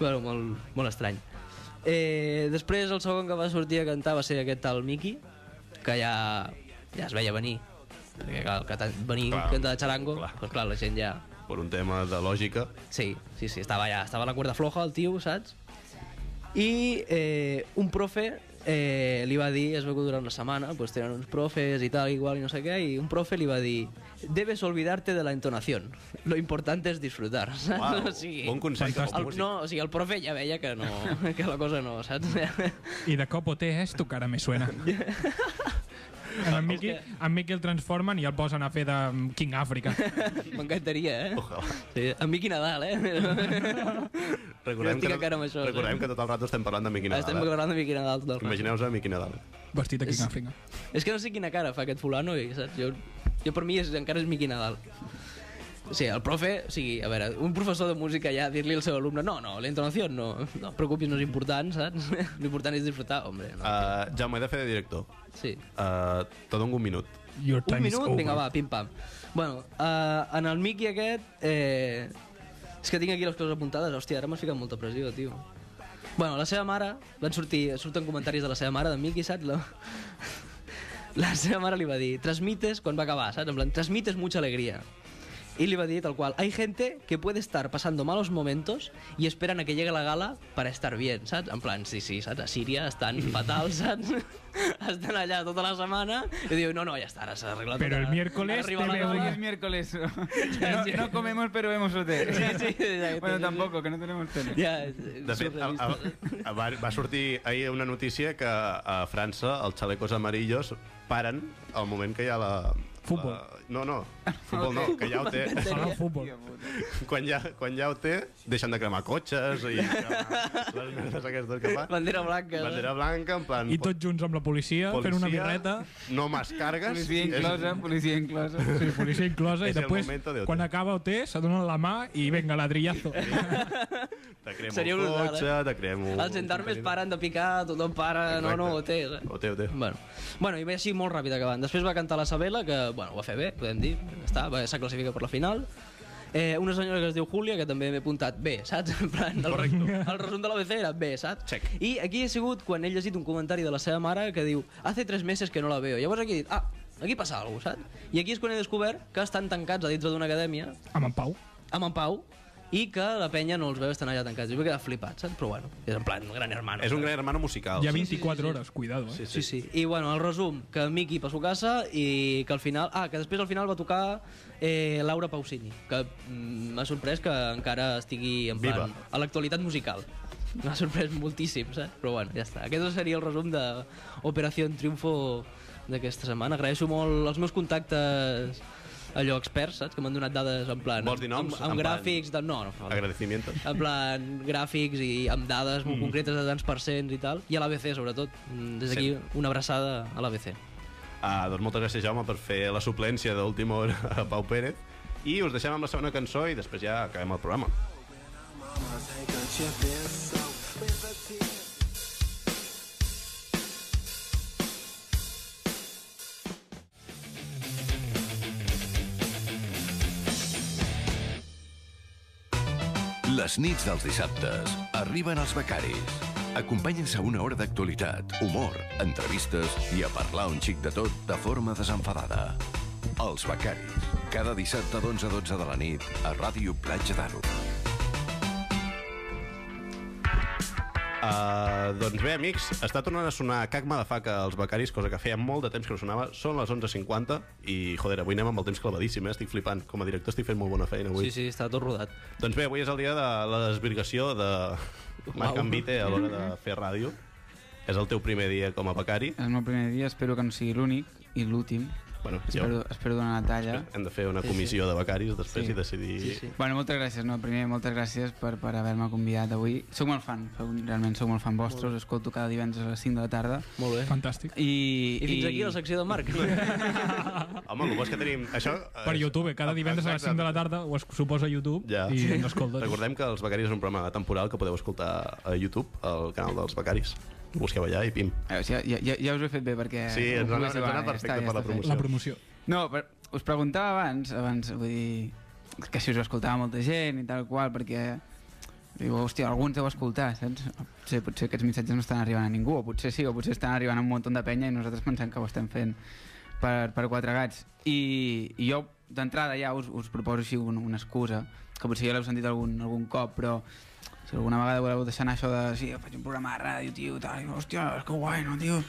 [SPEAKER 3] bueno, molt, molt estrany. Eh, després el segon que va sortir a cantar va ser aquest tal Miki, que ja, ja es veia venir. Perquè clar, el que ta- venir
[SPEAKER 1] Clar,
[SPEAKER 3] clar, cantar de xarango,
[SPEAKER 1] clar.
[SPEAKER 3] clar. Doncs, clar, la gent ja...
[SPEAKER 1] Per un tema de lògica,
[SPEAKER 3] Sí, sí, sí, estava ja, estava a la cuerda floja el tio, saps? I eh, un profe eh, li va dir, es veu que durant una setmana, pues tenen uns profes i tal, igual, i no sé què, i un profe li va dir, debes olvidarte de la entonación, lo importante es disfrutar, saps?
[SPEAKER 1] Uau,
[SPEAKER 3] o sigui,
[SPEAKER 1] bon consell cap al
[SPEAKER 3] el,
[SPEAKER 1] músic.
[SPEAKER 3] no, o sigui, el profe ja veia que, no, que la cosa no, saps?
[SPEAKER 2] I de cop OT és tu cara me suena. En Mickey, en Mickey el transformen i el posen a fer de King Africa.
[SPEAKER 3] M'encantaria, eh?
[SPEAKER 1] Ojalá.
[SPEAKER 3] Sí, a Miqui Nadal, eh?
[SPEAKER 1] Recordem,
[SPEAKER 3] estic
[SPEAKER 1] que,
[SPEAKER 3] a cara amb això,
[SPEAKER 1] recordem
[SPEAKER 3] eh?
[SPEAKER 1] que tot el rato estem parlant de Miqui
[SPEAKER 3] Estem
[SPEAKER 1] Nadal. eh?
[SPEAKER 3] parlant de Miqui Nadal tot el rato.
[SPEAKER 1] Imagineu-vos a Miqui Nadal.
[SPEAKER 2] Vestit de King
[SPEAKER 3] És-
[SPEAKER 2] Africa.
[SPEAKER 3] És que no sé quina cara fa aquest fulano, i, saps? Jo, jo per mi és, encara és Miqui Nadal. O sigui, el profe, o sigui, a veure, un professor de música ja dir-li al seu alumne no, no, la entonació no, no et preocupis, no és important, saps? L'important és disfrutar, hombre. No.
[SPEAKER 1] Uh, Jaume, he de fer de director.
[SPEAKER 3] Sí.
[SPEAKER 1] Uh, Te dono un minut.
[SPEAKER 2] Your
[SPEAKER 3] Un
[SPEAKER 2] time is
[SPEAKER 3] minut,
[SPEAKER 2] over.
[SPEAKER 3] vinga, va, pim-pam. Bueno, uh, en el Miqui aquest, eh, és que tinc aquí les coses apuntades, hòstia, ara m'has ficat molta pressió, tio. Bueno, la seva mare, van sortir, surten comentaris de la seva mare, de Miqui, saps? La... la seva mare li va dir, transmites, quan va acabar, saps? En plan, transmites mucha alegría. Y le va a decir tal cual, hay gente que puede estar pasando malos momentos y esperan a que llegue la gala para estar bien, saps? En plan, sí, sí, saps? A Síria estan fatal, saps? Estan allà tota la setmana i diu, no, no, ja està, ara s'ha arreglat.
[SPEAKER 2] Pero
[SPEAKER 3] tot,
[SPEAKER 2] el
[SPEAKER 3] ara-
[SPEAKER 2] miércoles
[SPEAKER 3] ara arriba
[SPEAKER 2] te
[SPEAKER 3] la
[SPEAKER 2] veo
[SPEAKER 4] Hoy
[SPEAKER 3] gala".
[SPEAKER 4] es miércoles. No, no comemos, pero vemos hotel.
[SPEAKER 3] Sí, sí, exacte.
[SPEAKER 4] Bueno, tampoco, que no tenemos tele.
[SPEAKER 3] Ja,
[SPEAKER 1] De fet, a, a, a, va, va sortir ahir una notícia que a França els xalecos amarillos paren al moment que hi ha la...
[SPEAKER 2] Futbol.
[SPEAKER 1] La... No, no, futbol no, que ja ho té.
[SPEAKER 2] Sala de futbol.
[SPEAKER 1] Quan ja, quan ja ho té, deixen de cremar cotxes i cremar les merdes aquestes que fa.
[SPEAKER 3] Bandera blanca.
[SPEAKER 1] Bandera blanca, en plan...
[SPEAKER 2] I tots junts amb la policia,
[SPEAKER 1] policia,
[SPEAKER 2] fent una birreta.
[SPEAKER 1] No más cargas.
[SPEAKER 4] Policía inclosa, policía inclosa.
[SPEAKER 2] Sí, policia inclosa, i
[SPEAKER 1] És el
[SPEAKER 2] després,
[SPEAKER 1] momento de OT.
[SPEAKER 2] quan acaba OT, se donen la mà i venga, ladrillazo.
[SPEAKER 1] Te cremo
[SPEAKER 3] Seria
[SPEAKER 1] un
[SPEAKER 3] brutal,
[SPEAKER 1] cotxe, te cremo...
[SPEAKER 3] Els
[SPEAKER 1] Oh,
[SPEAKER 3] gendarmes paren de picar, tothom para, no, no, ho té. eh?
[SPEAKER 1] Ho té, ho té.
[SPEAKER 3] Bueno, bueno, i va així molt ràpid acabant. Després va cantar la Sabela, que bueno, ho va fer bé, podem dir, ja està, va, s'ha classificat per la final. Eh, una senyora que es diu Júlia, que també m'he apuntat bé, saps? En plan, el, el resum de l'ABC era bé, saps?
[SPEAKER 1] Check.
[SPEAKER 3] I aquí he sigut quan he llegit un comentari de la seva mare que diu «Hace tres meses que no la veo». Llavors aquí he dit «Ah, aquí passa alguna cosa, saps? I aquí és quan he descobert que estan tancats a dintre d'una acadèmia
[SPEAKER 2] Amb en Pau.
[SPEAKER 1] Oh,
[SPEAKER 3] amb en Pau i que la penya no els veu, estan allà tancats. Jo m'he quedat flipat, saps? Però bueno, és en plan, un gran hermano.
[SPEAKER 1] És un gran hermano musical.
[SPEAKER 2] Hi ha 24 hores, cuidado, eh?
[SPEAKER 3] Sí, sí. I bueno, el resum, que Miki per su casa i que al final... Ah, que després al final va tocar eh, Laura Pausini, que mm, m'ha sorprès que encara estigui en plan,
[SPEAKER 1] Viva.
[SPEAKER 3] a l'actualitat musical. M'ha sorprès moltíssim, saps? Però bueno, ja està. Aquest seria el resum de Operació Triunfo d'aquesta setmana. Agraeixo molt els meus contactes allò experts, saps? Que m'han donat dades en plan...
[SPEAKER 1] Vols dir noms?
[SPEAKER 3] Amb, amb,
[SPEAKER 1] En plan-
[SPEAKER 3] gràfics... De... No, no fa falta
[SPEAKER 1] Agradecimientos.
[SPEAKER 3] en plan gràfics i amb dades
[SPEAKER 4] Mm.
[SPEAKER 3] molt concretes de tants percents i tal, i a l'ABC sobretot Mm, des d'aquí una abraçada a l'ABC
[SPEAKER 1] Ah, doncs moltes gràcies, Jaume, per fer la suplència d'última hora a Pau Pérez. I us deixem amb la segona cançó i després ja acabem el programa.
[SPEAKER 6] Les nits dels dissabtes arriben els becaris. Acompanyen-se a una hora d'actualitat, humor, entrevistes i a parlar un xic de tot de forma desenfadada. Els becaris. Cada dissabte d'11 a 12 de la nit a Ràdio Platja d'Aro.
[SPEAKER 1] Uh, Uh, doncs bé, amics, està tornant a sonar Cac Madafaca als becaris, cosa que feia molt de temps que no sonava. Són les 11.50 i, joder, avui anem amb el temps clavadíssim, eh? estic flipant. Com a director estic fent molt bona feina avui.
[SPEAKER 3] Sí, sí, està tot rodat.
[SPEAKER 1] Doncs bé, avui és el dia de la desvirgació de Marc
[SPEAKER 3] Uau.
[SPEAKER 1] Envite a l'hora de fer ràdio. És el teu primer dia com a becari.
[SPEAKER 4] És el meu primer dia, espero que no sigui l'únic i l'últim.
[SPEAKER 1] Bueno, jo,
[SPEAKER 4] Espero, espero donar la talla.
[SPEAKER 1] hem de fer una comissió de becaris després
[SPEAKER 4] Sí.
[SPEAKER 1] i decidir...
[SPEAKER 3] Sí, sí.
[SPEAKER 4] Bueno, moltes gràcies, no? Primer, moltes gràcies per, per haver-me convidat avui. Soc molt fan, sou- realment soc molt fan vostre, us escolto cada divendres a les 5 de la tarda.
[SPEAKER 3] Molt bé.
[SPEAKER 2] Fantàstic.
[SPEAKER 4] I,
[SPEAKER 3] I fins aquí la secció del Marc.
[SPEAKER 1] Home, el bo és que tenim... Això, eh,
[SPEAKER 2] Per YouTube, cada divendres a les 5 de la tarda ho es suposa a YouTube
[SPEAKER 1] Ja.
[SPEAKER 2] i ens escolta.
[SPEAKER 1] Recordem que Els Becaris és un programa temporal que podeu escoltar a YouTube, al canal dels Becaris. Ho busqueu allà i pim.
[SPEAKER 4] Eh, o sigui, ja, ja, ja us ho he fet bé perquè...
[SPEAKER 1] Sí,
[SPEAKER 4] ho
[SPEAKER 1] ens ha anat- ens ha
[SPEAKER 4] poguéssiu,
[SPEAKER 1] anat
[SPEAKER 4] vale,
[SPEAKER 1] perfecte per la
[SPEAKER 4] fet.
[SPEAKER 1] promoció.
[SPEAKER 2] La promoció.
[SPEAKER 4] No, però us preguntava abans, abans, vull dir, que si us ho escoltava molta gent i tal qual, perquè diu, hòstia, algú ens deu escoltar, saps? Potser, potser aquests missatges no estan arribant a ningú, o potser sí, o potser estan arribant a un munt de penya i nosaltres pensem que ho estem fent per, per quatre gats. I, i jo, d'entrada, ja us, us proposo així un, una excusa, que potser ja l'heu sentit algun, algun cop, però si alguna vegada voleu deixar anar això de sí, faig un programa de ràdio, tio, tal, i, hòstia, és que guai, no, tio,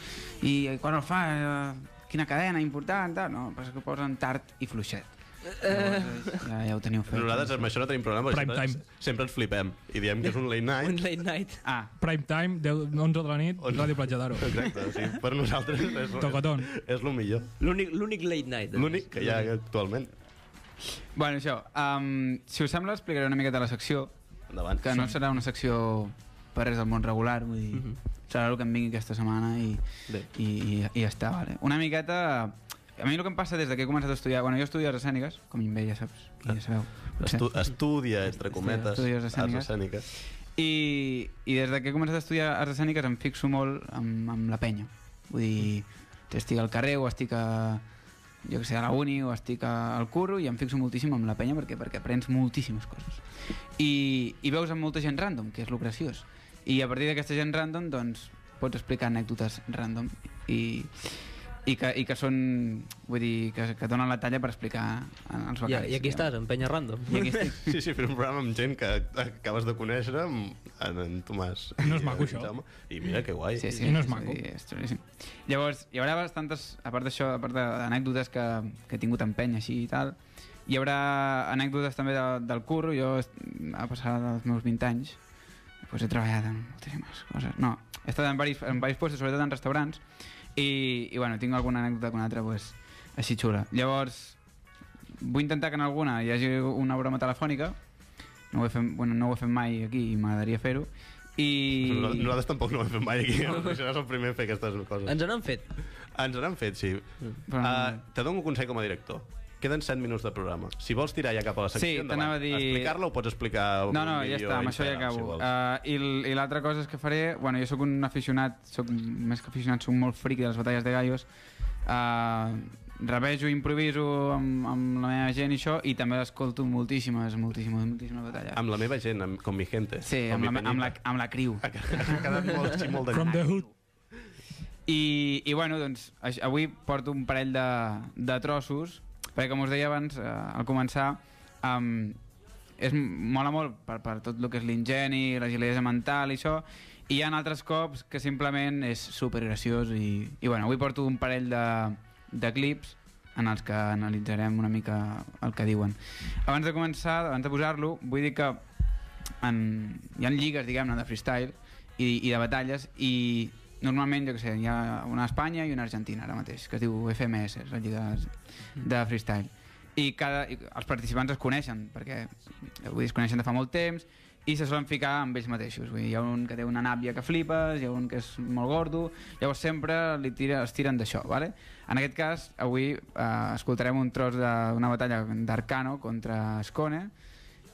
[SPEAKER 4] i, i quan el fa, eh, quina cadena important, tal, no, el que passa és que ho posen tard i fluixet. Llavors, eh, ja, ja ho teniu fet.
[SPEAKER 1] Nosaltres amb això no tenim problema,
[SPEAKER 2] Prime
[SPEAKER 1] perquè
[SPEAKER 2] time.
[SPEAKER 1] sempre, sempre ens flipem i diem que és un late
[SPEAKER 3] Un
[SPEAKER 1] night.
[SPEAKER 3] late night.
[SPEAKER 4] Ah,
[SPEAKER 2] Prime time, 10, 11 de la nit,
[SPEAKER 1] Onze.
[SPEAKER 2] Ràdio Platja d'Aro.
[SPEAKER 1] Exacte, sí, per nosaltres és,
[SPEAKER 2] Tocotón.
[SPEAKER 1] és el millor.
[SPEAKER 3] L'únic l'únic late night. eh?
[SPEAKER 1] L'únic que hi ha actualment.
[SPEAKER 4] bueno, això, um, si us sembla explicaré una miqueta la secció,
[SPEAKER 1] Endavant.
[SPEAKER 4] que no serà una secció per res del món regular, vull dir, serà el que em vingui aquesta setmana i,
[SPEAKER 3] Bé.
[SPEAKER 4] i, i, i ja està, vale? Una miqueta... A mi el que em passa des de que he començat a estudiar... Bueno, jo estudio arts escèniques, com bé ja saps, i ja sabeu. potser.
[SPEAKER 1] Estu estudia, entre cometes,
[SPEAKER 4] estudies
[SPEAKER 1] arts
[SPEAKER 4] escèniques.
[SPEAKER 1] escèniques.
[SPEAKER 4] I, I des de que he començat a estudiar arts escèniques em fixo molt amb, amb la penya. Vull dir, estic al carrer o estic a, jo que sé, a la uni o estic a, al curro i em fixo moltíssim amb la penya perquè perquè aprens moltíssimes coses. I, i veus amb molta gent random, que és lo graciós. I a partir d'aquesta gent random, doncs, pots explicar anècdotes random i, i, que, i que són, vull dir, que, que donen la talla per explicar als
[SPEAKER 3] I,
[SPEAKER 4] becaris.
[SPEAKER 3] I aquí
[SPEAKER 4] diguem.
[SPEAKER 3] estàs, en penya random.
[SPEAKER 4] I aquí estic.
[SPEAKER 1] Sí, sí, fer un programa amb gent que acabes de conèixer, amb en, en Tomàs.
[SPEAKER 2] No és
[SPEAKER 1] i
[SPEAKER 2] maco,
[SPEAKER 1] en
[SPEAKER 2] això.
[SPEAKER 1] Jaume. I mira que guai.
[SPEAKER 4] Sí, sí,
[SPEAKER 2] I no és
[SPEAKER 4] sí,
[SPEAKER 2] maco.
[SPEAKER 4] sí, és xulíssim. Llavors, hi haurà bastantes, a part d'això, a part de- d'anècdotes que, que he tingut en penya així i tal, hi haurà anècdotes també de, del curro. Jo, est- a passar dels meus 20 anys, doncs he treballat en moltíssimes coses. No, he estat en diversos, en diversos postes, sobretot en restaurants, i, i bueno, tinc alguna anècdota que una altra, doncs, així xula. Llavors, vull intentar que en alguna hi hagi una broma telefònica, no ho he fet, bueno, no ho he fet mai aquí i m'agradaria fer-ho, i...
[SPEAKER 1] Nosaltres- Nosaltres tampoc no ho hem fet mai aquí. Seràs el primer a fer aquestes coses.
[SPEAKER 3] Ens n'han fet.
[SPEAKER 1] Ens n'han fet, sí.
[SPEAKER 4] Però no-
[SPEAKER 1] Uh, te dono un consell com a director. Queden 7 minuts de programa. Si vols tirar ja cap a la secció,
[SPEAKER 4] Sí, t'anava
[SPEAKER 1] endavant.
[SPEAKER 4] a dir-
[SPEAKER 1] Explicar-la o pots explicar... amb
[SPEAKER 4] No,
[SPEAKER 1] un
[SPEAKER 4] no, ja
[SPEAKER 1] vídeo
[SPEAKER 4] està,
[SPEAKER 1] a
[SPEAKER 4] amb això ja
[SPEAKER 1] Instagram,
[SPEAKER 4] acabo.
[SPEAKER 1] vols.
[SPEAKER 4] Si uh, I l- i l'altra cosa és que faré... Bueno, jo sóc un aficionat, sóc més que aficionat, sóc molt fric de les batalles de gallos. Uh, revejo, improviso amb, amb la meva gent i això, i també escolto moltíssimes, moltíssimes, moltíssimes batalles.
[SPEAKER 1] Amb la meva gent, amb, com mi gente.
[SPEAKER 4] sí,
[SPEAKER 1] com
[SPEAKER 4] amb
[SPEAKER 1] mi
[SPEAKER 4] la, amb, la,
[SPEAKER 1] peñita.
[SPEAKER 4] amb la criu.
[SPEAKER 1] Ha quedat molt, sí, molt de...
[SPEAKER 2] From the hood.
[SPEAKER 4] I, I bueno, doncs, aix- avui porto un parell de, de trossos, perquè com us deia abans, eh, al començar, um, és, m- mola molt per, per tot el que és l'ingeni, l'agilesa mental i això, i hi ha altres cops que simplement és super graciós i, i bueno, avui porto un parell de, de clips en els que analitzarem una mica el que diuen. Abans de començar, abans de posar-lo, vull dir que en, hi ha lligues, diguem-ne, de freestyle i, i de batalles i normalment, jo que sé, hi ha una a Espanya i una a Argentina ara mateix, que es diu FMS, és la lliga de freestyle. I, cada, i els participants es coneixen, perquè vull dir, es coneixen de fa molt temps i se solen ficar amb ells mateixos. Vull dir, hi ha un que té una nàbia que flipes, hi ha un que és molt gordo, llavors sempre li tira, es tiren d'això, vale? En aquest cas, avui eh, escoltarem un tros de- d'una batalla d'Arcano contra Escone,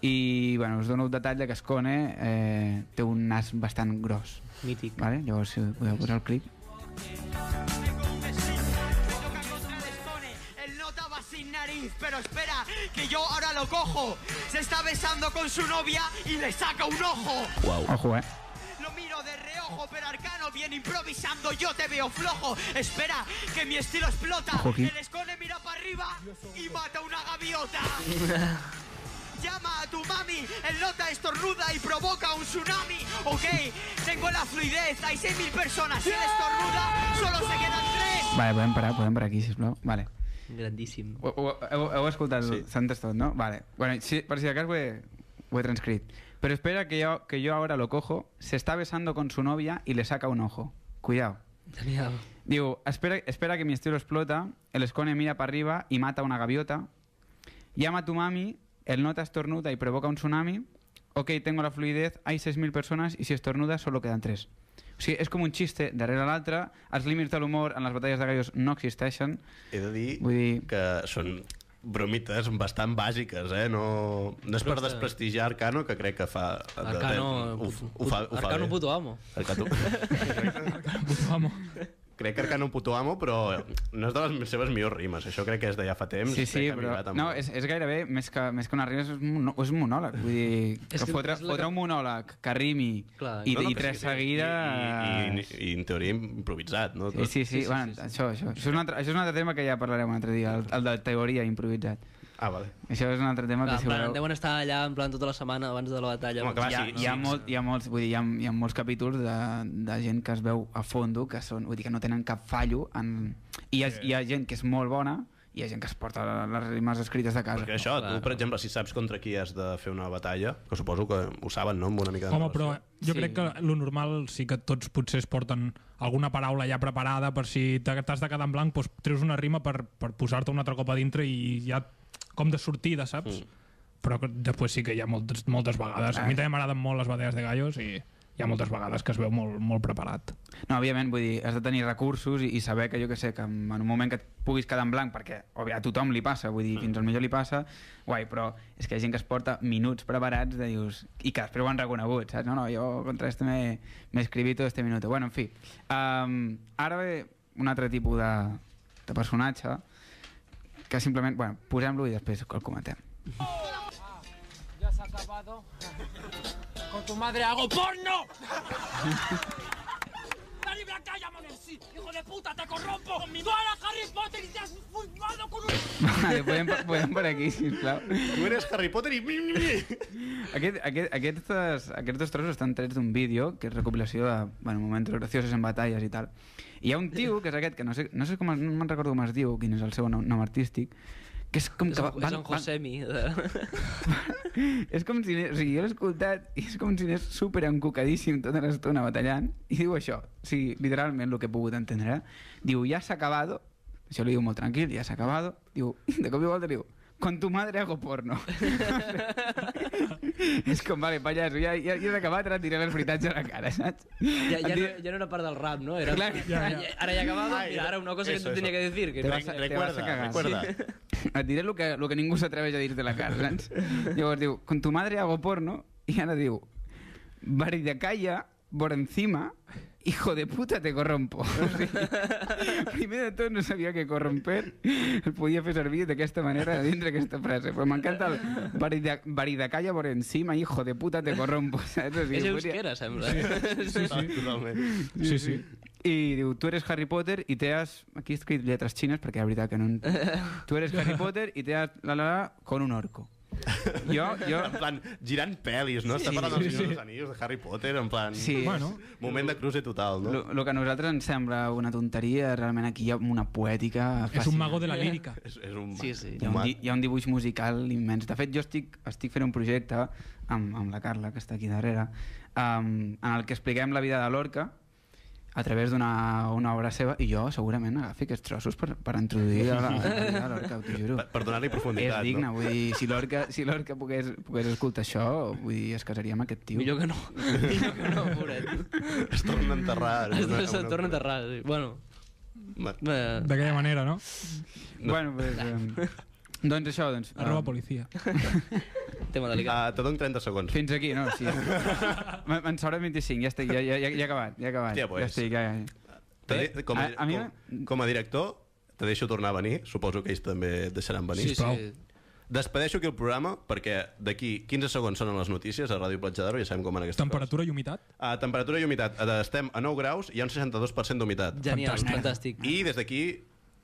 [SPEAKER 4] i bueno, us dono el detall de que Escone eh, té un nas bastant gros.
[SPEAKER 3] Mític.
[SPEAKER 4] Vale? Llavors, si podeu posar el clip.
[SPEAKER 7] El nota va sin nariz, pero espera, que yo ahora lo cojo. Se está besando con su novia y le saca un ojo.
[SPEAKER 4] Ojo, eh?
[SPEAKER 7] Lo miro de reojo, pero Arcano viene improvisando, yo te veo flojo. Espera, que mi estilo explota.
[SPEAKER 4] Ojo aquí.
[SPEAKER 7] El escone mira para arriba y mata una gaviota. Llama a tu mami, el nota estornuda y provoca un tsunami. Ok, tengo Tengo la fluidez, hay 6.000 personas. Si él estornuda, solo se quedan tres.
[SPEAKER 4] Vale, podem parar, podem parar aquí, sisplau. Vale.
[SPEAKER 3] Grandíssim.
[SPEAKER 4] Ho, ho, heu, heu escoltat, sí. s'han tastat, no? Vale. Bueno, sí, per si de cas ho he, ho he transcrit. Pero espera que yo, que yo ahora lo cojo, se está besando con su novia y le saca un ojo. Cuidado.
[SPEAKER 3] Genial.
[SPEAKER 4] Digo, espera, espera que mi estilo explota, el escone mira para arriba y mata a una gaviota. Llama a tu mami, el nota estornuda y provoca un tsunami. Ok, tengo la fluidez, hay 6.000 personas y si estornuda solo quedan 3. O sigui, és com un xiste darrere l'altre, els límits de l'humor en les batalles de gallos no existeixen.
[SPEAKER 1] He de dir,
[SPEAKER 4] Vull dir-
[SPEAKER 1] que són bromites bastant bàsiques, eh? No, no és per desprestigiar Arcano, que crec que fa...
[SPEAKER 3] Arcano...
[SPEAKER 1] ho, ho fa, ho fa
[SPEAKER 3] Arcano
[SPEAKER 1] bé.
[SPEAKER 3] puto amo.
[SPEAKER 1] Arcano,
[SPEAKER 2] Vamos.
[SPEAKER 1] crec que Arcano puto amo, però no és de les seves millors rimes. Això crec que és de ja fa temps.
[SPEAKER 4] Sí, sí,
[SPEAKER 1] crec que ha
[SPEAKER 4] però...
[SPEAKER 1] millorat amb-
[SPEAKER 4] No, és, és gairebé, més que, més que una rima, és un, mono- és un monòleg. Vull dir, que,
[SPEAKER 3] És que
[SPEAKER 4] fotre,
[SPEAKER 3] és la que-
[SPEAKER 4] fotre un monòleg que rimi
[SPEAKER 3] Clar,
[SPEAKER 4] i,
[SPEAKER 1] No, no,
[SPEAKER 4] i
[SPEAKER 1] que
[SPEAKER 4] tres
[SPEAKER 1] sí, sí. I,
[SPEAKER 4] seguides...
[SPEAKER 1] i, i, i, en teoria improvisat, no?
[SPEAKER 4] Sí, sí, sí,
[SPEAKER 3] Sí, sí,
[SPEAKER 4] bueno,
[SPEAKER 3] sí, sí.
[SPEAKER 4] Això, això. Això, és un altre, això és un altre tema que ja parlarem un altre dia, el, el de teoria improvisat.
[SPEAKER 1] Ah, vale.
[SPEAKER 4] Això és un altre tema
[SPEAKER 3] Clar,
[SPEAKER 4] que
[SPEAKER 3] en
[SPEAKER 4] si
[SPEAKER 3] plan,
[SPEAKER 4] voleu...
[SPEAKER 3] deuen estar allà en plan tota la setmana abans de la batalla.
[SPEAKER 1] Home, clar,
[SPEAKER 4] Hi ha,
[SPEAKER 1] sí,
[SPEAKER 4] hi, ha molt, hi, ha molts, vull dir, hi, ha, hi ha molts capítols de, de gent que es veu a fondo, que, són, vull dir, que no tenen cap fallo. En... I hi ha, hi ha gent que és molt bona i hi ha gent que es porta les rimes escrites de casa.
[SPEAKER 1] Perquè això, tu,
[SPEAKER 3] Clar.
[SPEAKER 1] per exemple, si saps contra qui has de fer una batalla, que suposo que ho saben, no?, amb una mica de...
[SPEAKER 2] Home, però eh,
[SPEAKER 1] narració.
[SPEAKER 2] jo
[SPEAKER 3] Sí.
[SPEAKER 2] sí. crec que lo normal sí que tots potser es porten alguna paraula ja preparada per si t'ha- t'has de quedar en blanc, doncs treus una rima per, per posar-te un altre cop a dintre i ja com de sortida, saps? Mm. Però que després sí que hi ha moltes, moltes vegades. A mi també m'agraden molt les batalles de gallos i hi ha moltes vegades que es veu molt, molt preparat.
[SPEAKER 4] No, òbviament, vull dir, has de tenir recursos i, i saber que, jo que sé, que en en un moment que et puguis quedar en blanc, perquè òbvia, a tothom li passa, vull dir, fins al millor li passa, guai, però és que hi ha gent que es porta minuts preparats de dius, i que després ho han reconegut, saps? No, no, jo contra este me, me escribí todo este minuto. Bueno, en fi. Um, ara ve un altre tipus de, de personatge que simplement, bueno, posem-lo i després el comentem.
[SPEAKER 8] Ya se ha acabado. Con tu madre hago porno. ¡La libre calla, Monensi! ¡Hijo de puta, te corrompo! ¡Con mi mala Harry Potter y te has formado con un...
[SPEAKER 4] Vale, podem, podem per aquí, sisplau.
[SPEAKER 1] Tu eres Harry Potter i...
[SPEAKER 4] Aquest, aquest, aquestes, aquests dos trossos estan trets d'un vídeo, que és recopilació de bueno, moments graciosos en batalles i tal. I hi ha un tio, que és aquest, que no sé, no sé com es, no me'n recordo com es diu, quin és el seu nom, nom artístic, que és com
[SPEAKER 3] És,
[SPEAKER 4] que...
[SPEAKER 3] en- és en Josemi. De...
[SPEAKER 4] és com si anés, o sigui, jo l'he escoltat i és com si anés super encucadíssim tota l'estona batallant i diu això, o sigui, literalment el que he pogut entendre, eh? diu, ja s'ha acabado, això li diu molt tranquil, ja s'ha acabado, diu, de cop i volta diu, con tu madre hago porno. és com, vale, pallasso, ja, ja, ja has acabat, ara et diré les veritats a la cara, saps?
[SPEAKER 3] Ja,
[SPEAKER 4] Et
[SPEAKER 3] ja, no,
[SPEAKER 4] diré-
[SPEAKER 3] ja no era part del rap, no? Era,
[SPEAKER 4] Clar,
[SPEAKER 2] ja,
[SPEAKER 3] ara,
[SPEAKER 2] ja.
[SPEAKER 3] ara ja acabado,
[SPEAKER 1] Ai,
[SPEAKER 3] mira, ara una cosa
[SPEAKER 1] eso,
[SPEAKER 3] que te tenía
[SPEAKER 1] eso.
[SPEAKER 3] que decir. Que
[SPEAKER 4] Te
[SPEAKER 3] no-
[SPEAKER 4] vas a- te vas a
[SPEAKER 1] Recuerda,
[SPEAKER 4] cagar.
[SPEAKER 1] recuerda.
[SPEAKER 4] et diré el que, el que ningú s'atreveix a dir-te a la cara, saps? Llavors diu, con tu madre hago porno, i ara diu, baridacalla, por encima, hijo de puta te corrompo. O sigui, primer de tot no sabia que corromper el podia fer servir d'aquesta manera dintre aquesta frase, però m'encanta el barida- baridacalla por encima, hijo de puta te corrompo, saps? O sigui,
[SPEAKER 3] És
[SPEAKER 4] podria-
[SPEAKER 3] euskera, sembla.
[SPEAKER 1] Sí, sí. Totalment.
[SPEAKER 2] Sí, sí.
[SPEAKER 4] i diu, tu eres Harry Potter i te has... Aquí he escrit lletres xines perquè la veritat que no... en- Tu eres Harry Potter i te has... La, la, la, con un orco. Jo, jo...
[SPEAKER 1] En plan, girant pel·lis, no? Està parlant dels Senyors dels Anillos, de Harry Potter, en plan...
[SPEAKER 4] Sí, bueno.
[SPEAKER 2] Bueno,
[SPEAKER 1] Moment de cruce total, no?
[SPEAKER 4] El que a nosaltres ens sembla una tonteria, realment aquí hi ha una poètica...
[SPEAKER 2] és un
[SPEAKER 4] fascinant.
[SPEAKER 2] mago de la lírica.
[SPEAKER 1] És, és un...
[SPEAKER 3] Sí, sí.
[SPEAKER 4] Hi ha, un di, hi ha un dibuix musical immens. De fet, jo estic, estic fent un projecte amb, amb la Carla, que està aquí darrere, um, en el que expliquem la vida de Lorca a través d'una una obra seva, i jo segurament agafi aquests trossos per, per introduir a la, a la vida de Lorca, t'ho juro.
[SPEAKER 1] Per, per donar-li
[SPEAKER 4] És
[SPEAKER 1] profunditat,
[SPEAKER 4] digne,
[SPEAKER 1] no?
[SPEAKER 4] vull dir, si Lorca, si Lorca pogués, pogués escoltar això, vull dir, es casaria amb aquest tio.
[SPEAKER 3] Millor que no. Millor que no, pobret.
[SPEAKER 1] Es torna a enterrar. en una- en
[SPEAKER 3] Se
[SPEAKER 1] una-
[SPEAKER 3] torna a enterrar, sí. Bueno,
[SPEAKER 1] Va,
[SPEAKER 3] eh,
[SPEAKER 2] D'aquella manera, no?
[SPEAKER 4] Bueno, pues, um, doncs això, doncs... um,
[SPEAKER 2] Arroba policia.
[SPEAKER 3] tema delicat.
[SPEAKER 1] Ah, te dono 30 segons.
[SPEAKER 4] Fins aquí, no? Sí. Me- Me'n sobra 25, ja estic, ja, ja, ja, ja he acabat, ja he acabat.
[SPEAKER 1] Hòstia, pues.
[SPEAKER 4] Ja estic, ja, ja.
[SPEAKER 1] Te de- Com a,
[SPEAKER 4] A- a mi
[SPEAKER 1] com, com a director, te deixo tornar a venir. Suposo que ells també et deixaran venir.
[SPEAKER 3] Sí,
[SPEAKER 2] sisplau.
[SPEAKER 3] sí.
[SPEAKER 1] Despedeixo aquí el programa perquè d'aquí 15 segons sonen les notícies a Ràdio Platja d'Aro i ja sabem com en aquesta
[SPEAKER 2] Temperatura i humitat.
[SPEAKER 1] A Ah, temperatura i humitat. Eh, Estem a 9 graus i hi ha un 62% d'humitat.
[SPEAKER 3] Genial, fantàstic.
[SPEAKER 1] I des d'aquí,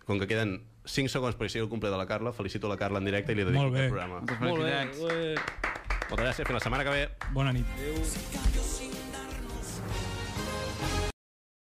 [SPEAKER 1] com que queden 5 segons per sigui el complet de la Carla, felicito la Carla en directe i li dedico
[SPEAKER 2] Molt bé.
[SPEAKER 3] eh,
[SPEAKER 1] el programa.
[SPEAKER 4] Moltes
[SPEAKER 3] Molt bé.
[SPEAKER 4] felicitats.
[SPEAKER 3] ué.
[SPEAKER 1] Moltes gràcies, fins la setmana que ve.
[SPEAKER 2] Bona nit.
[SPEAKER 9] callos